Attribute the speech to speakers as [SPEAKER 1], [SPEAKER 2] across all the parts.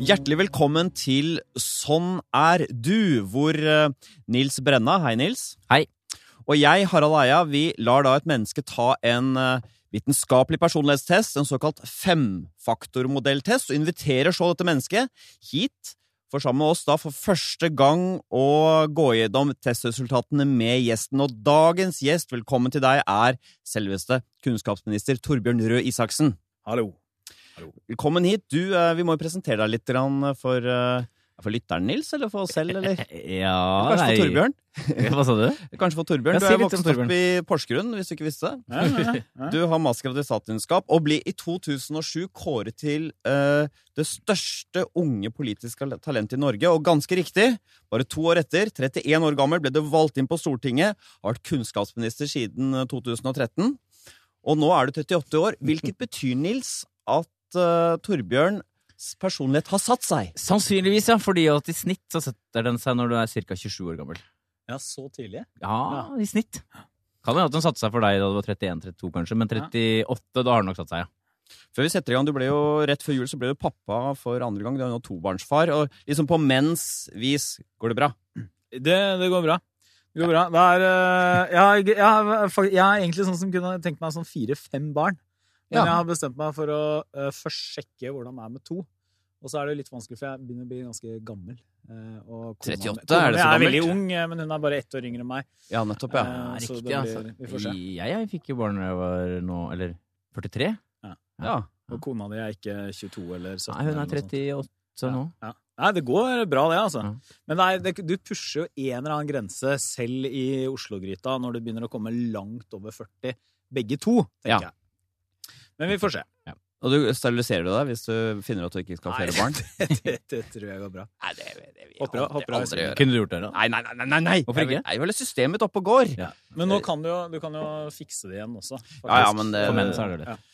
[SPEAKER 1] Hjertelig velkommen til Sånn er du, hvor eh, Nils Brenna Hei, Nils.
[SPEAKER 2] Hei.
[SPEAKER 1] Og jeg, Harald Eia, vi lar da et menneske ta en eh, vitenskapelig personlighetstest, en såkalt femfaktormodelltest, og inviterer så dette mennesket hit for sammen med oss da for første gang å gå gjennom testresultatene med gjesten. Og dagens gjest, velkommen til deg, er selveste kunnskapsminister Torbjørn Røe Isaksen.
[SPEAKER 3] Hallo.
[SPEAKER 1] Velkommen hit. Du, eh, vi må jo presentere deg litt grann for, eh, for lytteren, Nils, eller for oss selv, eller?
[SPEAKER 2] Ja,
[SPEAKER 1] Kanskje for Torbjørn?
[SPEAKER 2] Hva sa du?
[SPEAKER 1] Kanskje for Torbjørn.
[SPEAKER 2] Ja,
[SPEAKER 1] Du er
[SPEAKER 2] si litt om
[SPEAKER 1] vokst opp i Porsgrunn, hvis du ikke visste det.
[SPEAKER 3] Ja, ja, ja.
[SPEAKER 1] Du har mastergrad i statsvitenskap og ble i 2007 kåret til eh, det største unge politiske talentet i Norge. Og ganske riktig, bare to år etter, 31 år gammel, ble du valgt inn på Stortinget. Har vært kunnskapsminister siden eh, 2013. Og nå er du 38 år, hvilket betyr, Nils, at eh, Torbjørns personlighet har satt seg.
[SPEAKER 2] Sannsynligvis, ja. Fordi at i snitt så setter den seg når du er ca. 27 år gammel.
[SPEAKER 3] ja, så tidlig?
[SPEAKER 2] Ja, i snitt. Kan hende at den satte seg for deg da du var 31-32, kanskje. Men 38, da har den nok satt seg, ja.
[SPEAKER 1] Før vi setter i gang, du ble jo rett før jul så ble du pappa for andre gang. Du er jo nå tobarnsfar. Og liksom på menns vis går det bra.
[SPEAKER 3] Det, det går bra. Det går bra. Det er, eh, jeg, jeg, har fak- jeg er egentlig sånn som kunne tenkt meg sånn fire-fem barn. Men
[SPEAKER 1] Ja.
[SPEAKER 3] jeg har bestemt meg for å eh, først sjekke hvordan det er med to. Og så er det litt vanskelig, for jeg begynner å bli ganske gammel. eh, og kona
[SPEAKER 1] 38, er det
[SPEAKER 3] mi-
[SPEAKER 1] så
[SPEAKER 3] kona mi er
[SPEAKER 1] gammelt?
[SPEAKER 3] veldig ung, eh, men hun er bare ett år yngre enn meg.
[SPEAKER 1] Ja, nettopp,
[SPEAKER 3] ja.
[SPEAKER 2] Ja,
[SPEAKER 3] så
[SPEAKER 2] Riktig,
[SPEAKER 3] det
[SPEAKER 2] altså.
[SPEAKER 3] blir- vi får se.
[SPEAKER 2] Jeg, jeg fikk jo barn da jeg var nå Eller 43?
[SPEAKER 1] ja.
[SPEAKER 3] Og kona di er ikke 22 eller 17.
[SPEAKER 2] Nei, hun
[SPEAKER 3] eller
[SPEAKER 2] er
[SPEAKER 3] noe sånt.
[SPEAKER 2] 38 nå.
[SPEAKER 3] Ja. Nei, det går bra, det, altså.
[SPEAKER 2] Ja.
[SPEAKER 3] Men nei, det, du pusher jo en eller annen grense selv i Oslo-gryta når du begynner å komme langt over 40, begge to,
[SPEAKER 1] Ja.
[SPEAKER 3] tenker jeg. Men vi får se.
[SPEAKER 1] Og du steriliserer du deg hvis du finner ut at du ikke skal ha flere
[SPEAKER 3] Nei.
[SPEAKER 1] barn?
[SPEAKER 3] Det, det tror jeg går bra.
[SPEAKER 1] Nei, det, det vil jeg
[SPEAKER 3] Hopper av-
[SPEAKER 1] aldri-
[SPEAKER 3] hopper av i
[SPEAKER 1] aldri
[SPEAKER 3] sengen.
[SPEAKER 1] gjøre.
[SPEAKER 2] Kunne du gjort det? da?
[SPEAKER 1] Nei, nei, nei, nei, nei, nei.
[SPEAKER 2] Hvorfor ikke?
[SPEAKER 1] Jeg vil- Jeg vil ha systemet oppe og går.
[SPEAKER 2] Ja.
[SPEAKER 3] Men nå kan du jo, du kan jo fikse det igjen også. faktisk.
[SPEAKER 1] Ja, ja, men det-
[SPEAKER 2] For menn så er det lett.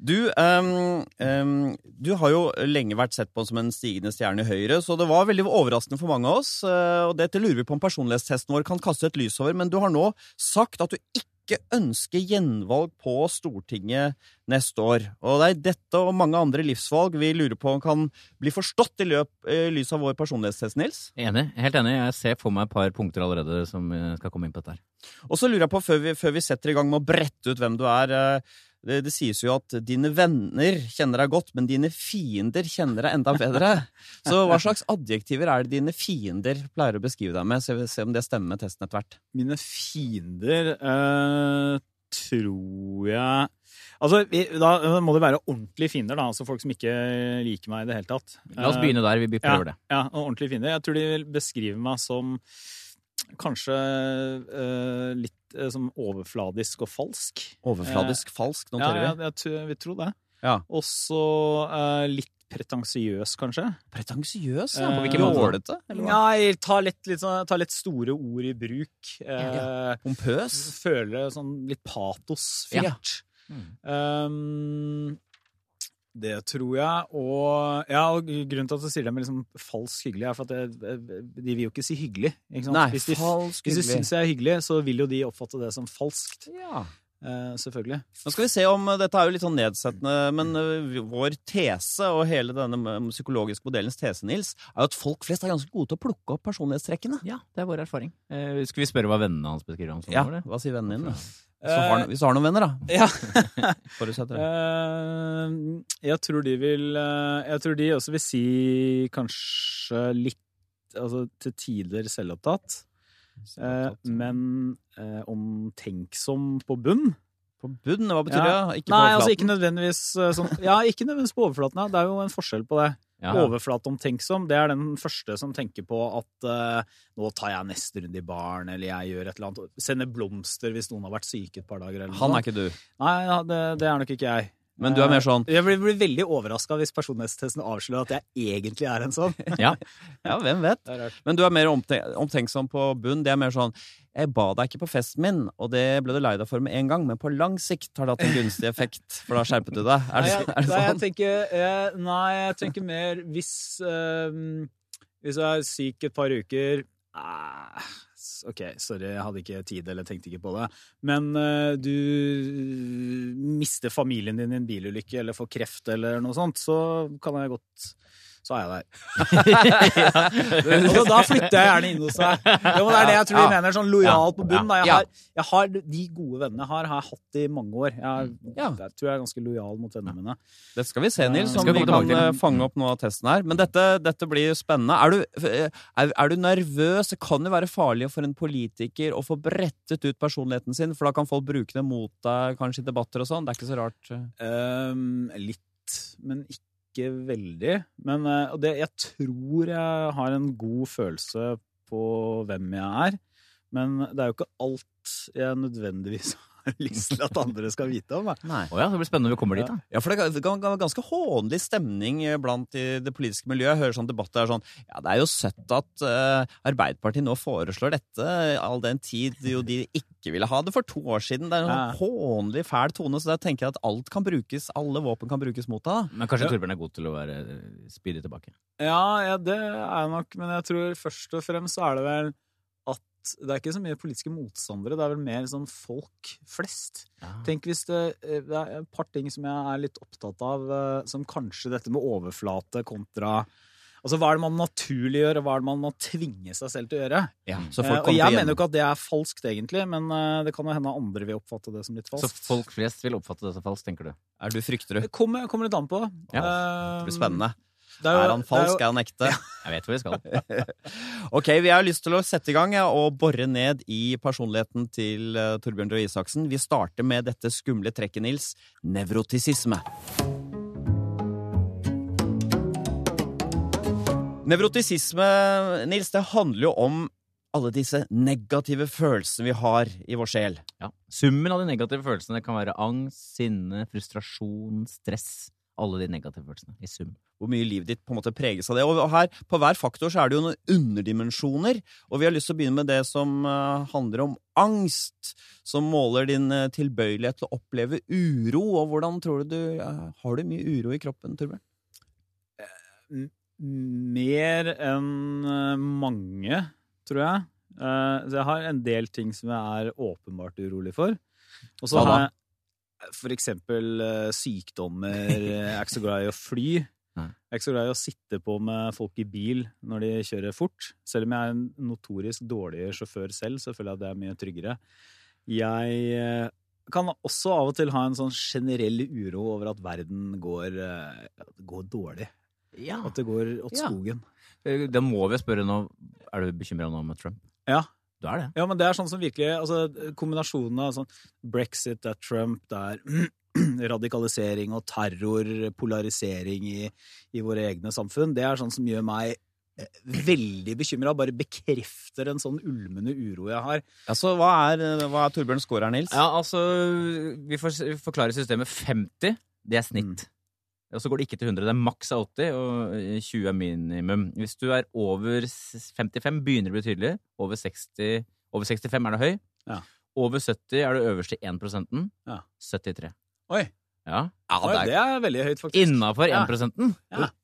[SPEAKER 1] Du, ehm, ehm, du har jo lenge vært sett på som en stigende stjerne i Høyre, så det var veldig overraskende for mange av oss. eh, Og dette lurer vi på om personlighetstesten vår kan kaste et lys over, men du har nå sagt at du ikke ønsker gjenvalg på Stortinget neste år. Og det er dette og mange andre livsvalg vi lurer på om kan bli forstått i løp, eh, lys av vår personlighetstest, Nils.
[SPEAKER 3] Eh.
[SPEAKER 2] Enig. Helt enig. Jeg ser for meg et par punkter allerede som eh, skal komme inn på dette her.
[SPEAKER 1] Og så lurer jeg på, før vi, før vi setter i gang med å brette ut hvem du er eh, det, det sies jo at dine venner kjenner deg godt, men dine fiender kjenner deg enda bedre. Så hva slags adjektiver er det dine fiender pleier å beskrive deg med? Så vi se om det stemmer med testen etter hvert.
[SPEAKER 3] Mine fiender eh, tror jeg Altså, vi, da må det være ordentlige fiender, da. Altså folk som ikke liker meg i det hele tatt.
[SPEAKER 2] La oss
[SPEAKER 3] Eh,
[SPEAKER 2] begynne der. Vi prøver det.
[SPEAKER 3] Ja, og ordentlig fine. Jeg tror de vil beskrive meg som kanskje eh, litt eh, som overfladisk og falsk.
[SPEAKER 1] Overfladisk falsk,
[SPEAKER 3] Eh, Ja,
[SPEAKER 1] noterer
[SPEAKER 3] ja,
[SPEAKER 1] vi.
[SPEAKER 3] jeg tror- vil tro det.
[SPEAKER 1] Ja.
[SPEAKER 3] Og så eh, litt pretensiøs, kanskje.
[SPEAKER 1] Pretensiøs, ja.
[SPEAKER 3] ja.
[SPEAKER 1] På
[SPEAKER 3] På
[SPEAKER 1] hvilken
[SPEAKER 3] hvilken måte?
[SPEAKER 1] måte?
[SPEAKER 3] Nei, ta litt, litt, sånn, ta litt store ord i bruk.
[SPEAKER 1] Ja.
[SPEAKER 3] Eh,
[SPEAKER 1] Pompøs?
[SPEAKER 3] Føle sånn litt patosfylt.
[SPEAKER 1] Mm.
[SPEAKER 3] Um, det tror jeg. Og, ja, og grunnen til at jeg sier det med liksom falsk hyggelig, er for at det, de vil jo ikke si hyggelig. Ikke sant?
[SPEAKER 1] Nei,
[SPEAKER 3] hvis de,
[SPEAKER 1] falsk
[SPEAKER 3] hvis de
[SPEAKER 1] hyggelig.
[SPEAKER 3] syns jeg er hyggelig, så vil jo de oppfatte det som falskt.
[SPEAKER 1] Ja.
[SPEAKER 3] Eh, selvfølgelig.
[SPEAKER 1] Nå skal vi se om Dette er jo litt sånn nedsettende, men eh, vår tese og hele denne eh, psykologiske modellens tese, Nils, er jo at folk flest er ganske gode til å plukke opp personlighetstrekkene.
[SPEAKER 2] Ja, det er vår erfaring. Eh, skal vi spørre hva vennene hans beskriver sånn, ham som?
[SPEAKER 1] Ja,
[SPEAKER 2] var det?
[SPEAKER 1] Hva sier vennene dine? Hvis du har, hvis du har noen venner, da.
[SPEAKER 3] Eh, Ja.
[SPEAKER 1] Forutsetter det.
[SPEAKER 3] Eh, jeg tror de vil eh, Jeg tror de også vil si kanskje litt Altså til tider selvopptatt, eh, men eh, omtenksom på bunn.
[SPEAKER 1] På bunnen, hva betyr
[SPEAKER 3] Ja.
[SPEAKER 1] det? Ikke på
[SPEAKER 3] Nei, altså
[SPEAKER 1] overflaten?
[SPEAKER 3] ikke nødvendigvis eh, sånn Ja, ikke nødvendigvis på overflaten. Ja. Det er jo en forskjell på det.
[SPEAKER 2] Ja.
[SPEAKER 3] Overflateomtenksom, det er den første som tenker på at eh, nå tar jeg neste runde i baren, eller jeg gjør et eller annet. Sender blomster hvis noen har vært syke et par dager, eller
[SPEAKER 1] Han
[SPEAKER 3] noe.
[SPEAKER 1] er ikke du.
[SPEAKER 3] Nei, ja, det, det er nok ikke jeg.
[SPEAKER 1] Men du er mer sånn
[SPEAKER 3] Jeg blir, blir veldig overraska hvis personlighetstesten avslører at jeg egentlig er en sånn.
[SPEAKER 2] Ja.
[SPEAKER 1] Ja, hvem vet?
[SPEAKER 3] Det er rart.
[SPEAKER 1] Men du er mer omte- omtenksom på bunn. Det er mer sånn Jeg ba deg ikke på festen min, og det ble du lei deg for med en gang, men på lang sikt har det hatt en gunstig effekt, for da skjerpet du deg. Er
[SPEAKER 3] Nei,
[SPEAKER 1] det,
[SPEAKER 3] jeg,
[SPEAKER 1] er det
[SPEAKER 3] nei, jeg
[SPEAKER 1] sånn?
[SPEAKER 3] tenker, eh, nei, jeg tenker mer hvis eh, Hvis jeg er syk et par uker eh, s- OK, sorry, jeg hadde ikke tid eller tenkte ikke på det. Men eh, du mister familien din i en bilulykke eller får kreft eller noe sånt, så kan jeg godt så er jeg der. Altså, da flytter jeg gjerne inn hos deg. Jo, men det er det jeg tror de
[SPEAKER 2] Ja.
[SPEAKER 3] mener. Sånn lojal på bunnen. Da. Jeg,
[SPEAKER 2] Ja.
[SPEAKER 3] har, jeg har De gode vennene jeg har, har jeg hatt i mange år. Jeg,
[SPEAKER 1] Ja.
[SPEAKER 3] jeg tror jeg er ganske lojal mot vennene mine.
[SPEAKER 1] Det skal vi se, Nils,
[SPEAKER 2] skal
[SPEAKER 1] om
[SPEAKER 2] vi
[SPEAKER 1] vi
[SPEAKER 2] komme
[SPEAKER 1] kan
[SPEAKER 2] tilbake til.
[SPEAKER 1] eh, fange opp noe av testen her. Men dette, dette blir spennende. Er du, eh, er, er du nervøs? Det kan jo være farlig for en politiker å få brettet ut personligheten sin, for da kan folk bruke det mot deg kanskje i debatter og sånn. Det er ikke så rart.
[SPEAKER 3] Ehm, litt, men ikke veldig. Men eh, og det, jeg tror jeg har en god følelse på hvem jeg er. Men det er jo ikke alt jeg nødvendigvis har lyst til at andre skal vite om. da.
[SPEAKER 1] Nei.
[SPEAKER 2] Å ja, det blir spennende når vi kommer dit, da.
[SPEAKER 1] Ja, for det kan- det kan være ganske hånlig stemning eh, blant i det politiske miljøet. Jeg hører sånn debatter er sånn Ja, det er jo søtt at eh, Arbeiderpartiet nå foreslår dette, all den tid jo de ikke ville ha det for to år siden. Det er en sånn hånlig, fæl tone, så der tenker jeg at alt kan brukes, alle våpen kan brukes mot deg. da.
[SPEAKER 2] Men kanskje
[SPEAKER 3] Ja.
[SPEAKER 2] Torbjørn er god til å være spydig tilbake.
[SPEAKER 3] Ja, ja, det er jeg nok, men jeg tror først og fremst så er det vel at det er ikke så mye politiske motstandere, det er vel mer sånn folk flest. Tenk hvis det, eh, det er et par ting som jeg er litt opptatt av, eh, som kanskje dette med overflate kontra Altså, hva er det man naturlig gjør, og hva er det man må tvinge seg selv til å gjøre?
[SPEAKER 1] Ja, så
[SPEAKER 3] Eh,
[SPEAKER 1] folk
[SPEAKER 3] og
[SPEAKER 1] kommer
[SPEAKER 3] jeg
[SPEAKER 1] til å
[SPEAKER 3] mener jo
[SPEAKER 1] gjennom-
[SPEAKER 3] ikke at det er falskt, egentlig, men eh, det kan jo hende andre vil oppfatte det som litt
[SPEAKER 2] Så
[SPEAKER 3] falskt.
[SPEAKER 2] folk flest vil oppfatte det som falskt, tenker du?
[SPEAKER 1] Er du frykter du?
[SPEAKER 3] Det kommer, kommer litt an på. Eh,
[SPEAKER 1] Det blir spennende.
[SPEAKER 3] Det jo-
[SPEAKER 1] Er han
[SPEAKER 3] det
[SPEAKER 1] falsk?
[SPEAKER 3] jo-
[SPEAKER 1] Er han ekte?
[SPEAKER 2] Jeg vet hvor vi skal.
[SPEAKER 1] Ok, vi har lyst til å sette i gang ja, og bore ned i personligheten til eh, Torbjørn Røe Isaksen. Vi starter med dette skumle trekket, Nils. Nevrotisisme. Nevrotisisme, Nils, det handler jo om alle disse negative følelsene vi har i vår sjel.
[SPEAKER 2] Ja. Summen av de negative følelsene kan være angst, sinne, frustrasjon, stress. Alle de negative følelsene i sum.
[SPEAKER 1] hvor mye livet ditt på en måte preges av det. Og her, På hver faktor så er det jo noen underdimensjoner, og vi har lyst til å begynne med det som eh, handler om angst, som måler din eh, tilbøyelighet til å oppleve uro. og hvordan tror du du, eh, Har du mye uro i kroppen, Torbjørn?
[SPEAKER 3] Mer enn eh, mange, tror jeg. Eh, Så jeg har en del ting som jeg er åpenbart urolig for. Og så
[SPEAKER 1] Hva da?
[SPEAKER 3] har jeg for eksempel eh, sykdommer. Jeg er ikke så glad i å fly.
[SPEAKER 2] Nei.
[SPEAKER 3] Jeg er ikke så glad i å sitte på med folk i bil når de kjører fort. Selv om jeg er en notorisk dårlig sjåfør selv, så føler jeg at det er mye tryggere. Jeg eh, kan også av og til ha en sånn generell uro over at verden går, eh, går dårlig.
[SPEAKER 2] Ja.
[SPEAKER 3] At det går åt
[SPEAKER 2] Ja.
[SPEAKER 3] skogen.
[SPEAKER 2] eh, Da må vi spørre nå Er du bekymra nå med Trump?
[SPEAKER 3] Ja.
[SPEAKER 2] Du er det?
[SPEAKER 3] Ja, men det er sånn som virkelig altså, Kombinasjonen av sånn brexit, det er Trump, det er radikalisering og terror, polarisering i, i våre egne samfunn, det er sånn som gjør meg eh, veldig bekymra. Bare bekrefter en sånn ulmende uro jeg har.
[SPEAKER 1] Altså, Hva er, eh, hva er Torbjørns score her, Nils?
[SPEAKER 2] Ja, altså Vi får vi forklarer systemet 50. Det er snitt.
[SPEAKER 3] Mm.
[SPEAKER 2] Og så går det ikke til 100. Det er maks av 80, og eh, 20 er minimum. Hvis du er over s- 55, begynner det å bli tydelig. Over, 60, over 65 er det høy.
[SPEAKER 3] Ja.
[SPEAKER 2] Over 70 er det øverste 1 prosenten.
[SPEAKER 3] Ja.
[SPEAKER 2] 73.
[SPEAKER 3] Oi,
[SPEAKER 2] Ja.
[SPEAKER 1] Ja,
[SPEAKER 3] oi, det er veldig høyt, faktisk.
[SPEAKER 2] Innafor
[SPEAKER 3] Ja.
[SPEAKER 2] 1 prosenten.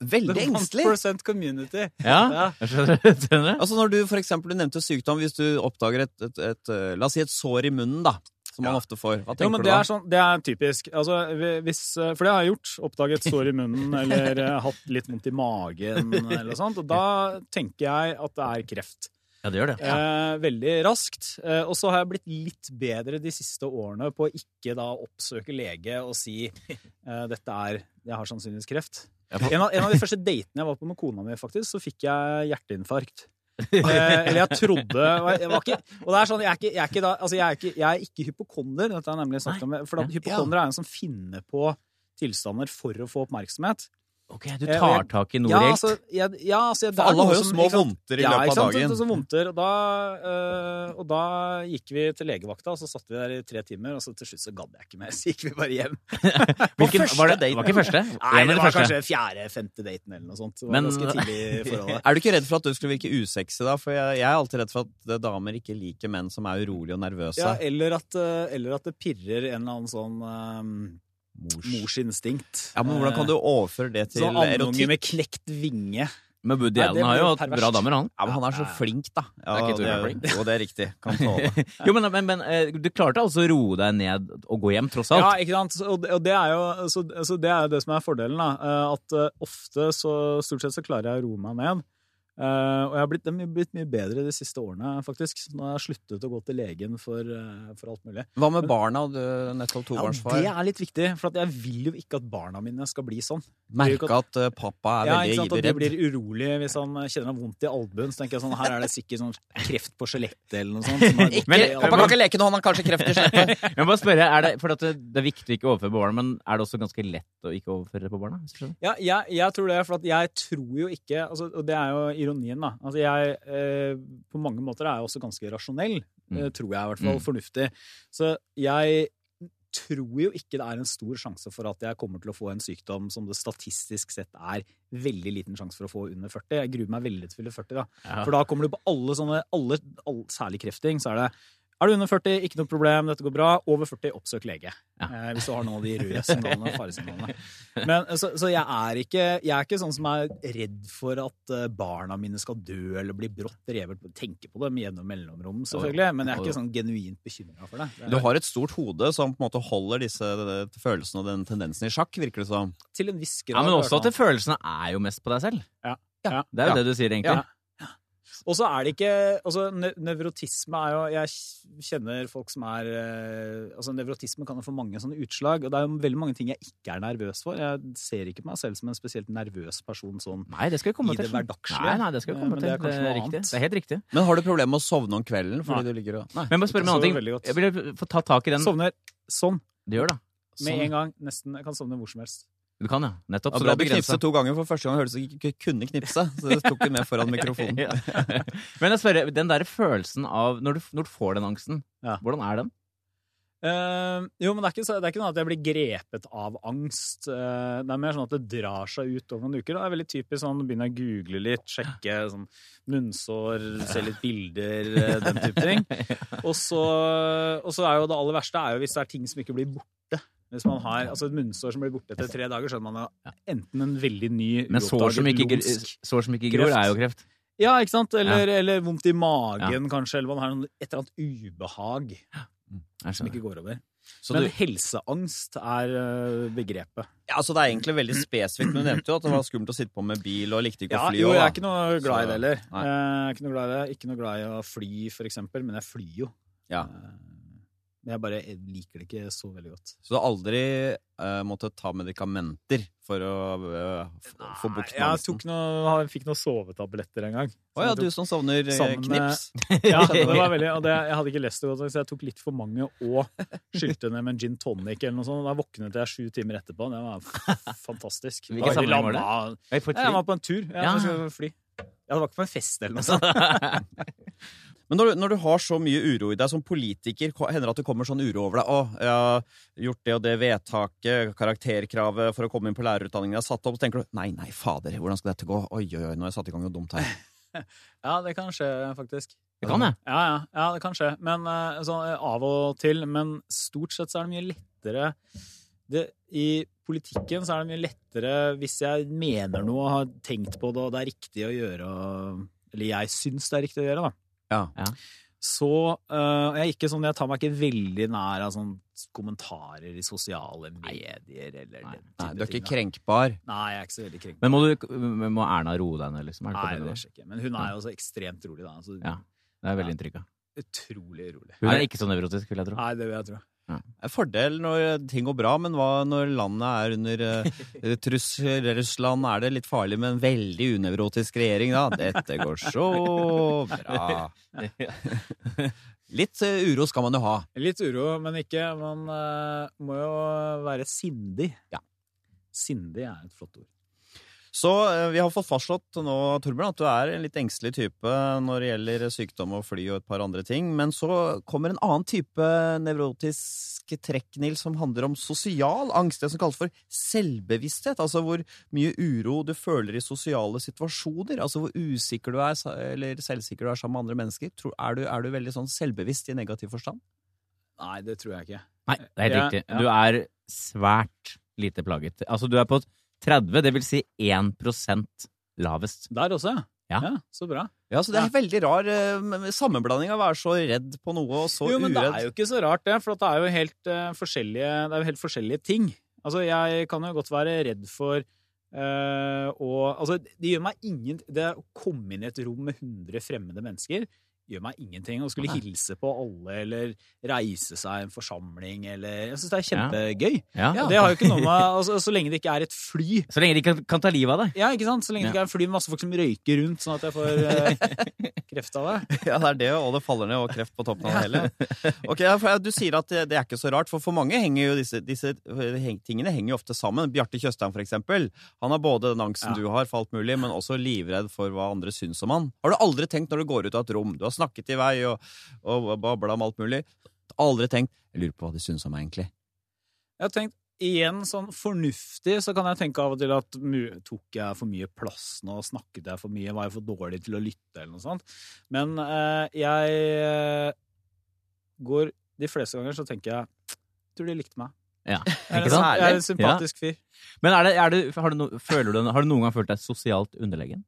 [SPEAKER 1] veldig
[SPEAKER 3] The
[SPEAKER 1] engstelig!
[SPEAKER 3] 1% community.
[SPEAKER 2] Ja. Skjønner du? Skjønner du?
[SPEAKER 1] Altså Når du for eksempel, du nevnte sykdom, hvis du oppdager et, et, et eh, la oss si et sår i munnen, da, som man
[SPEAKER 3] Ja.
[SPEAKER 1] ofte får, hva
[SPEAKER 3] Jo,
[SPEAKER 1] tenker
[SPEAKER 3] men
[SPEAKER 1] du
[SPEAKER 3] det
[SPEAKER 1] da?
[SPEAKER 3] er, sånn, det er typisk. Altså, vi- hvis, eh, for det har jeg gjort. Oppdaget sår i munnen eller eh, hatt litt vondt i magen eller noe sånt. Og da tenker jeg at det er kreft.
[SPEAKER 2] Ja, det gjør det.
[SPEAKER 3] Eh, veldig raskt. Eh, og så har jeg blitt litt bedre de siste årene på å ikke da oppsøke lege og si eh, dette er Jeg har sannsynligvis kreft.
[SPEAKER 2] Ja, for-
[SPEAKER 3] En av, en av de første datene jeg var på med kona mi, faktisk, så fikk jeg hjerteinfarkt. Eh, eller jeg trodde og jeg, jeg var ikke, Og det er sånn, jeg er ikke, jeg er ikke, da, altså jeg er ikke, jeg er ikke hypokonder. Dette er nemlig snakket om, for at hypokonder er en som finner på tilstander for å få oppmerksomhet.
[SPEAKER 2] Ok, du
[SPEAKER 3] Eh,
[SPEAKER 2] tar
[SPEAKER 3] jeg-
[SPEAKER 2] tak i noe
[SPEAKER 3] Ja,
[SPEAKER 2] reelt.
[SPEAKER 3] altså, jeg, ja, altså, jeg- det
[SPEAKER 1] For
[SPEAKER 3] er
[SPEAKER 1] alle
[SPEAKER 3] noe
[SPEAKER 1] har jo
[SPEAKER 3] som-
[SPEAKER 1] små
[SPEAKER 3] ikke sant?
[SPEAKER 1] vondter i løpet av
[SPEAKER 3] Ja, ikke
[SPEAKER 1] dagen.
[SPEAKER 3] sant? Så vondter, og da, øh, og da gikk vi til legevakta, og så satt vi der i tre timer, og så til slutt så gadd jeg ikke mer, så gikk vi bare hjem.
[SPEAKER 2] Hvilken,
[SPEAKER 1] første
[SPEAKER 2] var, det,
[SPEAKER 1] daten.
[SPEAKER 2] var ikke første?
[SPEAKER 3] Nei,
[SPEAKER 2] En av
[SPEAKER 3] det
[SPEAKER 2] de
[SPEAKER 3] var
[SPEAKER 2] første.
[SPEAKER 3] kanskje fjerde-femte daten eller noe sånt. Det var
[SPEAKER 2] Men-
[SPEAKER 3] ganske tidlig i forholdet.
[SPEAKER 1] Er du ikke redd for at du skulle virke usexy da? For jeg, jeg er alltid redd for at eh, damer ikke liker menn som er urolige og nervøse.
[SPEAKER 3] Ja, eller at, øh, eller at det pirrer en eller annen sånn øh, morsinstinkt.
[SPEAKER 1] Ja, men hvordan kan du overføre det til
[SPEAKER 3] Eh, Sånn andunge
[SPEAKER 1] erotikk?
[SPEAKER 3] med knekt vinge.
[SPEAKER 2] Men Woody
[SPEAKER 3] Nei,
[SPEAKER 2] Allen
[SPEAKER 3] det
[SPEAKER 2] har jo
[SPEAKER 3] blir
[SPEAKER 2] hatt
[SPEAKER 3] perverst.
[SPEAKER 2] bra damer, han.
[SPEAKER 1] Ja, men han er så flink, da. Ja,
[SPEAKER 2] Det er ikke Tore
[SPEAKER 1] jo- Jo, det er riktig. Kan tåle.
[SPEAKER 2] Jo, men, men, men eh, du klarte altså å roe deg ned og gå hjem, tross
[SPEAKER 3] Ja,
[SPEAKER 2] alt.
[SPEAKER 3] ikke sant? Og det, og det er jo så, så det, er jo det som er fordelen. da, Eh, At eh, ofte så stort sett så klarer jeg å roe meg ned. Eh, og jeg har blitt, det har blitt mye bedre de siste årene, faktisk. Så nå har jeg sluttet å gå til legen for, eh, for alt mulig.
[SPEAKER 1] Hva med barna? Du er nettopp tobarnsfar.
[SPEAKER 3] det er litt viktig, for at jeg vil jo ikke at barna mine skal bli sånn.
[SPEAKER 1] Merke at eh, pappa er
[SPEAKER 3] Ja, ikke sant?
[SPEAKER 1] veldig
[SPEAKER 3] Og de blir
[SPEAKER 1] redd.
[SPEAKER 3] urolige hvis han kjenner han vondt i albuen. Så tenker jeg sånn, her er det sikkert sånn kreft på skjelettet eller noe sånt. som har gått
[SPEAKER 2] Men-
[SPEAKER 3] i
[SPEAKER 1] Pappa kan
[SPEAKER 3] albuen.
[SPEAKER 1] ikke leke når han har kanskje kreft i skjelettet.
[SPEAKER 2] Jeg må bare spørre, er det, for at det, det er viktig å ikke overføre på barna, men er det også ganske lett å ikke overføre det på barna? hvis du skjønner?
[SPEAKER 3] Ja, jeg, jeg tror det, for at jeg tror jo ikke altså, Og det er jo ironien, da. Altså, jeg eh, på mange måter er jeg også ganske rasjonell.
[SPEAKER 2] Mm.
[SPEAKER 3] eh, Tror jeg, i hvert fall.
[SPEAKER 2] Mm.
[SPEAKER 3] Fornuftig. Så jeg tror jo ikke det er en stor sjanse for at jeg kommer til å få en sykdom som det statistisk sett er veldig liten sjanse for å få under 40. Jeg gruer meg veldig til å fylle 40, da. For da kommer du på alle sånne, alle, all- særlig krefting, så er det er du under 40, ikke noe problem, dette går bra. Over 40, oppsøk lege.
[SPEAKER 2] Ja.
[SPEAKER 3] Eh, hvis du har noen av de røde signalene, faresignalene. Men, eh, så så jeg, er ikke, jeg er ikke sånn som er redd for at eh, barna mine skal dø eller bli brått revet. Tenker på dem gjennom mellomrom, selvfølgelig, men jeg er ikke sånn genuint bekymra for det. det
[SPEAKER 1] Du
[SPEAKER 3] er,
[SPEAKER 1] har et stort hode som på en måte holder disse eh, følelsene og den tendensen i sjakk, virker det som.
[SPEAKER 3] til en viss grad.
[SPEAKER 2] Ja, men
[SPEAKER 3] i hvert
[SPEAKER 2] også
[SPEAKER 3] fall.
[SPEAKER 2] at det følelsene er jo mest på deg selv.
[SPEAKER 3] Ja. Ja.
[SPEAKER 2] Det er jo det du sier, egentlig.
[SPEAKER 3] Ja. Og så er det ikke altså, ne Nevrotisme er jo Jeg kjenner folk som er eh, Altså, nevrotisme kan jo få mange sånne utslag, og det er jo veldig mange ting jeg ikke er nervøs for. Jeg ser ikke på meg selv som en spesielt nervøs person sånn.
[SPEAKER 2] Nei, det skal vi komme
[SPEAKER 3] I
[SPEAKER 2] til.
[SPEAKER 3] det hverdagslige.
[SPEAKER 2] Nei, nei, det skal vi
[SPEAKER 3] Eh,
[SPEAKER 2] komme
[SPEAKER 3] men
[SPEAKER 2] til.
[SPEAKER 3] det er kanskje noe
[SPEAKER 2] riktig.
[SPEAKER 3] annet.
[SPEAKER 2] Det er helt riktig.
[SPEAKER 1] Men har du problemer med å sovne om kvelden? Fordi
[SPEAKER 3] Nei.
[SPEAKER 1] du ligger og... Nei.
[SPEAKER 2] Men bare spør meg en
[SPEAKER 3] Jeg sover
[SPEAKER 2] annen
[SPEAKER 3] veldig
[SPEAKER 2] ting.
[SPEAKER 3] godt.
[SPEAKER 2] Jeg vil få ta tak i den
[SPEAKER 3] Sovner sånn
[SPEAKER 2] Du gjør det.
[SPEAKER 3] med
[SPEAKER 1] Sånn.
[SPEAKER 3] en gang. Nesten. Jeg kan sovne hvor som helst.
[SPEAKER 2] Du kan, ja. Nettopp.
[SPEAKER 1] Ja,
[SPEAKER 2] Så
[SPEAKER 1] bra
[SPEAKER 2] det er
[SPEAKER 1] du knipset
[SPEAKER 2] begrenset.
[SPEAKER 1] to ganger, for første gang hørtes det ut som du ikke kunne knipse. Så det tok du med foran mikrofonen.
[SPEAKER 2] Ja. Men jeg spør, den der følelsen av Når du, når du får den angsten,
[SPEAKER 3] Ja.
[SPEAKER 2] hvordan er den?
[SPEAKER 3] Eh, jo, men det er, ikke, så- det er ikke noe at jeg blir grepet av angst. Eh, det er mer sånn at det drar seg ut over noen uker. Da. Det er veldig typisk sånn begynner jeg å google litt, sjekke sånn munnsår, se litt bilder, eh, den type ting. Og så, og så er jo det aller verste er jo hvis det er ting som ikke blir borte. Hvis man har altså et munnsår som blir borte etter tre dager, skjønner man jo enten en veldig ny
[SPEAKER 2] Men sår som ikke,
[SPEAKER 3] uoppdaget
[SPEAKER 2] gr-
[SPEAKER 3] lumsk
[SPEAKER 2] sår som ikke gror,
[SPEAKER 3] kreft.
[SPEAKER 2] er jo kreft.
[SPEAKER 3] Ja, ikke sant? Eller, eller vondt i magen, kanskje. Eller man har noe- et eller annet ubehag
[SPEAKER 2] Jeg
[SPEAKER 3] som
[SPEAKER 2] skjønner.
[SPEAKER 3] ikke går over.
[SPEAKER 1] Så
[SPEAKER 3] Men
[SPEAKER 1] du,
[SPEAKER 3] helseangst er eh, begrepet.
[SPEAKER 1] ja, så det er egentlig veldig spesifikt, men du nevnte jo at det var skummelt å sitte på med bil, og likte ikke
[SPEAKER 3] Ja,
[SPEAKER 1] å fly.
[SPEAKER 3] jo, jeg
[SPEAKER 1] også,
[SPEAKER 3] er
[SPEAKER 1] da.
[SPEAKER 3] ikke noe glad i det heller.
[SPEAKER 1] Nei.
[SPEAKER 3] Eh, Jeg er ikke noe glad i det. Ikke noe glad i å fly, for eksempel, men jeg flyr jo.
[SPEAKER 1] Ja.
[SPEAKER 3] Eh, Men jeg bare liker det ikke så veldig godt.
[SPEAKER 1] Så du har aldri eh, måttet ta medikamenter for å eh, få- få bukt med
[SPEAKER 3] jeg
[SPEAKER 1] angsten?
[SPEAKER 3] tok noe, jeg fikk noen sovetabletter en gang.
[SPEAKER 1] Å ja, du som savner eh,
[SPEAKER 3] Sammen med-
[SPEAKER 1] knips.
[SPEAKER 3] Ja, det var veldig, og det, jeg hadde ikke lest det godt, nok, så jeg tok litt for mange og skylte ned med en gin tonic eller noe sånt. og Da våknet jeg sju timer etterpå. Det var f- fantastisk.
[SPEAKER 2] Hvilken sammenheng var det? Jeg får
[SPEAKER 3] Nei, Jeg var på en tur. Jeg,
[SPEAKER 2] Ja.
[SPEAKER 3] skulle fly. Ja, det var ikke på en fest eller
[SPEAKER 1] Altså,
[SPEAKER 3] noe sånt.
[SPEAKER 1] Men når du, når du har så mye uro i deg som politiker, ko- hender det at det kommer sånn uro over deg? 'Å, jeg har gjort det og det vedtaket, karakterkravet for å komme inn på lærerutdanningen jeg har satt opp.' Så tenker du 'Nei, nei, fader, hvordan skal dette gå?' Oi, oi, oi, nå har jeg satt i gang noe dumt her.
[SPEAKER 3] Ja, det kan skje, faktisk.
[SPEAKER 2] Det kan jeg.
[SPEAKER 3] Ja, ja, ja det kan skje. Men eh, sånn, eh, av og til. Men stort sett så er det mye lettere det, I politikken så er det mye lettere hvis jeg mener noe og har tenkt på det, og det er riktig å gjøre og- Eller jeg syns det er riktig å gjøre, da.
[SPEAKER 1] Ja.
[SPEAKER 2] Ja.
[SPEAKER 3] Så eh, jeg, er ikke sånn, jeg tar meg ikke veldig nær av sånn kommentarer i sosiale medier eller
[SPEAKER 2] Nei.
[SPEAKER 3] den type
[SPEAKER 1] Nei, du er ikke
[SPEAKER 3] ting, da.
[SPEAKER 1] krenkbar.
[SPEAKER 3] Nei, jeg er ikke så veldig krenkt.
[SPEAKER 2] Men må, du, men må Erna roe deg ned, liksom? Er det
[SPEAKER 3] Nei,
[SPEAKER 2] på
[SPEAKER 3] det
[SPEAKER 2] det,
[SPEAKER 3] skjer ikke. Men hun er jo også ekstremt rolig, da. Altså, Så
[SPEAKER 2] Ja. det er veldig inntrykk av.
[SPEAKER 3] Utrolig rolig.
[SPEAKER 2] Hun er ikke så nevrotisk, vil jeg tro.
[SPEAKER 3] Nei, det vil jeg tro.
[SPEAKER 1] Det er fordel når ting går bra, men hva når landet er under eh, trussel? Russland er det litt farlig med en veldig unevrotisk regjering, da. Dette går så bra. Litt eh, uro skal man jo ha.
[SPEAKER 3] Litt uro, men ikke Man eh, må jo være sindig.
[SPEAKER 1] Ja.
[SPEAKER 3] Sindig er et flott ord.
[SPEAKER 1] Så eh, vi har fått fastslått nå, Torbjørn, at du er en litt engstelig type når det gjelder sykdom og fly og et par andre ting. Men så kommer en annen type nevrotisk trekk, Nils, som handler om sosial angst. Det som kalles for selvbevissthet. Altså hvor mye uro du føler i sosiale situasjoner. Altså hvor usikker du er, sa- eller selvsikker du er sammen med andre mennesker. Tror- Er du, er du veldig sånn selvbevisst i negativ forstand?
[SPEAKER 3] Nei, det tror jeg ikke.
[SPEAKER 2] Nei, det er helt
[SPEAKER 3] Ja,
[SPEAKER 2] riktig.
[SPEAKER 3] ja.
[SPEAKER 2] Du er svært lite plaget. Altså, du er på 30, det vil si 1 lavest.
[SPEAKER 3] Der også, ja.
[SPEAKER 2] Ja.
[SPEAKER 3] Så bra.
[SPEAKER 1] Ja, så det er veldig rar eh, sammenblanding av å være så redd på noe og så
[SPEAKER 3] jo, men det
[SPEAKER 1] uredd.
[SPEAKER 3] er jo ikke så rart, det. For at det er jo helt, eh, forskjellige, det er jo helt forskjellige ting. Altså, jeg kan jo godt være redd for eh, å Altså, det gjør meg ingen Det å komme inn i et rom med 100 fremmede mennesker gjør meg ingenting. Å skulle
[SPEAKER 2] Nei.
[SPEAKER 3] hilse på alle, eller reise seg i en forsamling, eller Jeg syns det er kjempegøy.
[SPEAKER 2] Ja.
[SPEAKER 3] Og Det har jo ikke noe med altså, Så lenge det ikke er et fly
[SPEAKER 2] Så lenge de ikke kan ta livet av deg.
[SPEAKER 3] Ja, ikke sant? Så lenge det ikke er et fly med masse folk som røyker rundt, sånn at jeg får eh, kreft av det.
[SPEAKER 1] Ja, det er det, og det faller ned, og kreft på toppen av det hele. Ok, ja, for Du sier at det det er ikke så rart, for for mange henger jo disse, disse eh, heng- tingene henger jo ofte sammen. Bjarte Tjøstheim, for eksempel. Han har både den angsten
[SPEAKER 3] Ja.
[SPEAKER 1] du har for alt mulig, men også livredd for hva andre syns om han. Har du aldri tenkt når du går ut av et rom, du har snakket i vei og, og babla om alt mulig, aldri tenkt 'jeg lurer på hva de syns om meg', egentlig.
[SPEAKER 3] Jeg har tenkt igjen sånn fornuftig, så kan jeg tenke av og til at mu- tok jeg for mye plass nå, snakket jeg for mye, var jeg for dårlig til å lytte eller noe sånt. Men eh, jeg eh, går De fleste ganger så tenker jeg tror de likte meg.
[SPEAKER 2] Ja,
[SPEAKER 3] Jeg er
[SPEAKER 2] ikke
[SPEAKER 3] en,
[SPEAKER 2] sant?
[SPEAKER 3] symp- jeg er
[SPEAKER 2] Ærlig.
[SPEAKER 3] en sympatisk fyr.
[SPEAKER 2] Men er det, er det, har, du no, føler du, har du noen gang følt deg sosialt underlegen?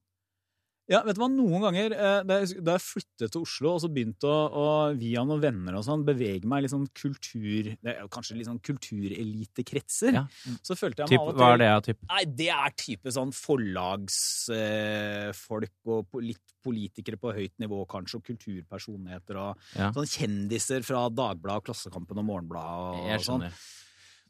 [SPEAKER 3] Ja, vet du hva, noen ganger eh, da jeg da jeg flyttet til Oslo og så begynte å, å via noen venner og sånn, bevege meg i litt sånn kultur... Det er jo kanskje litt sånn kulturelitekretser,
[SPEAKER 2] Ja.
[SPEAKER 3] så følte jeg
[SPEAKER 2] Typ,
[SPEAKER 3] meg av og til
[SPEAKER 2] hva er det av typ?
[SPEAKER 3] Nei, det er type sånn forlagsfolk eh, folk og po- litt politikere på høyt nivå, kanskje, og kulturpersonligheter og
[SPEAKER 2] Ja.
[SPEAKER 3] sånn kjendiser fra Dagbladet, Klassekampen og Morgenbladet og,
[SPEAKER 2] Jeg
[SPEAKER 3] sånn.
[SPEAKER 2] skjønner.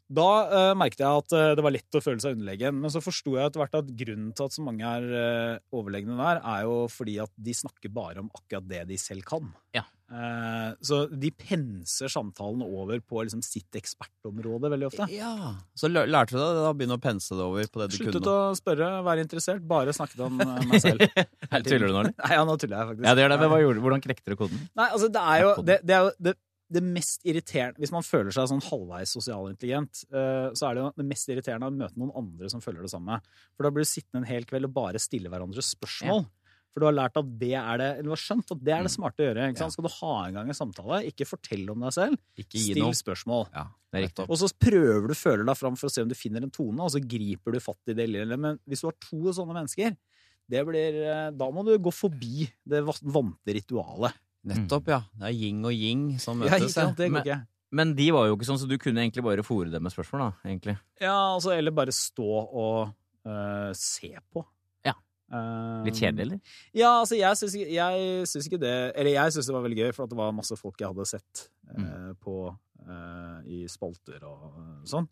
[SPEAKER 3] Da eh, merket jeg at eh, det var lett å føle seg underlegen, men så forsto jeg etter hvert at grunnen til at så mange er eh, overlegne der, er jo fordi at de snakker bare om akkurat det de selv kan.
[SPEAKER 2] Ja.
[SPEAKER 3] Eh, så de penser samtalen over på liksom sitt ekspertområde veldig ofte.
[SPEAKER 1] Ja. Så læ- lærte du deg det, da begynne å pense det over på det du
[SPEAKER 3] Sluttet
[SPEAKER 1] kunne.
[SPEAKER 3] å spørre, være interessert, bare snakket om eh, meg selv.
[SPEAKER 2] Tuller du nå, eller?
[SPEAKER 3] Nei, ja, nå tuller jeg faktisk.
[SPEAKER 2] Ja, det gjør det. Men hva gjorde, du? hvordan knekte du koden?
[SPEAKER 3] Nei, altså, det er jo,
[SPEAKER 2] Takk for
[SPEAKER 3] det, det, er jo det, det mest irriterende Hvis man føler seg sånn halvveis sosialintelligent, eh, så er det jo det mest irriterende å møte noen andre som føler det samme. For da blir du sittende en hel kveld og bare stille hverandre spørsmål. For du har lært at det er det, eller du har skjønt at det
[SPEAKER 1] Mm.
[SPEAKER 3] er det smarte å gjøre. Ikke sant? Skal du ha en gang en samtale, ikke fortell om deg selv,
[SPEAKER 1] Ikke gi
[SPEAKER 3] still
[SPEAKER 1] noe.
[SPEAKER 3] spørsmål.
[SPEAKER 1] Ja,
[SPEAKER 2] Det er riktig.
[SPEAKER 3] Og så prøver du føler deg fram for å se om du finner en tone, og så griper du fatt i det lille. Men hvis du har to sånne mennesker, det blir, eh, da må du gå forbi det va- vante ritualet.
[SPEAKER 1] Nettopp, ja. Det er yin og yin som
[SPEAKER 3] Ja, ikke
[SPEAKER 1] møtes.
[SPEAKER 3] sant? Det går
[SPEAKER 2] Men-
[SPEAKER 3] ikke.
[SPEAKER 2] Men de var jo ikke sånn, så du kunne egentlig bare fòre dem med spørsmål, da. egentlig.
[SPEAKER 3] Ja, altså, eller bare stå og eh, se på.
[SPEAKER 2] Ja.
[SPEAKER 3] Eh,
[SPEAKER 2] Litt kjedelig, eller?
[SPEAKER 3] Ja, altså, jeg syns, ikke- jeg syns ikke det Eller jeg syns det var veldig gøy, for at det var masse folk jeg hadde sett eh,
[SPEAKER 2] Mm.
[SPEAKER 3] på eh, i spalter og eh, sånn.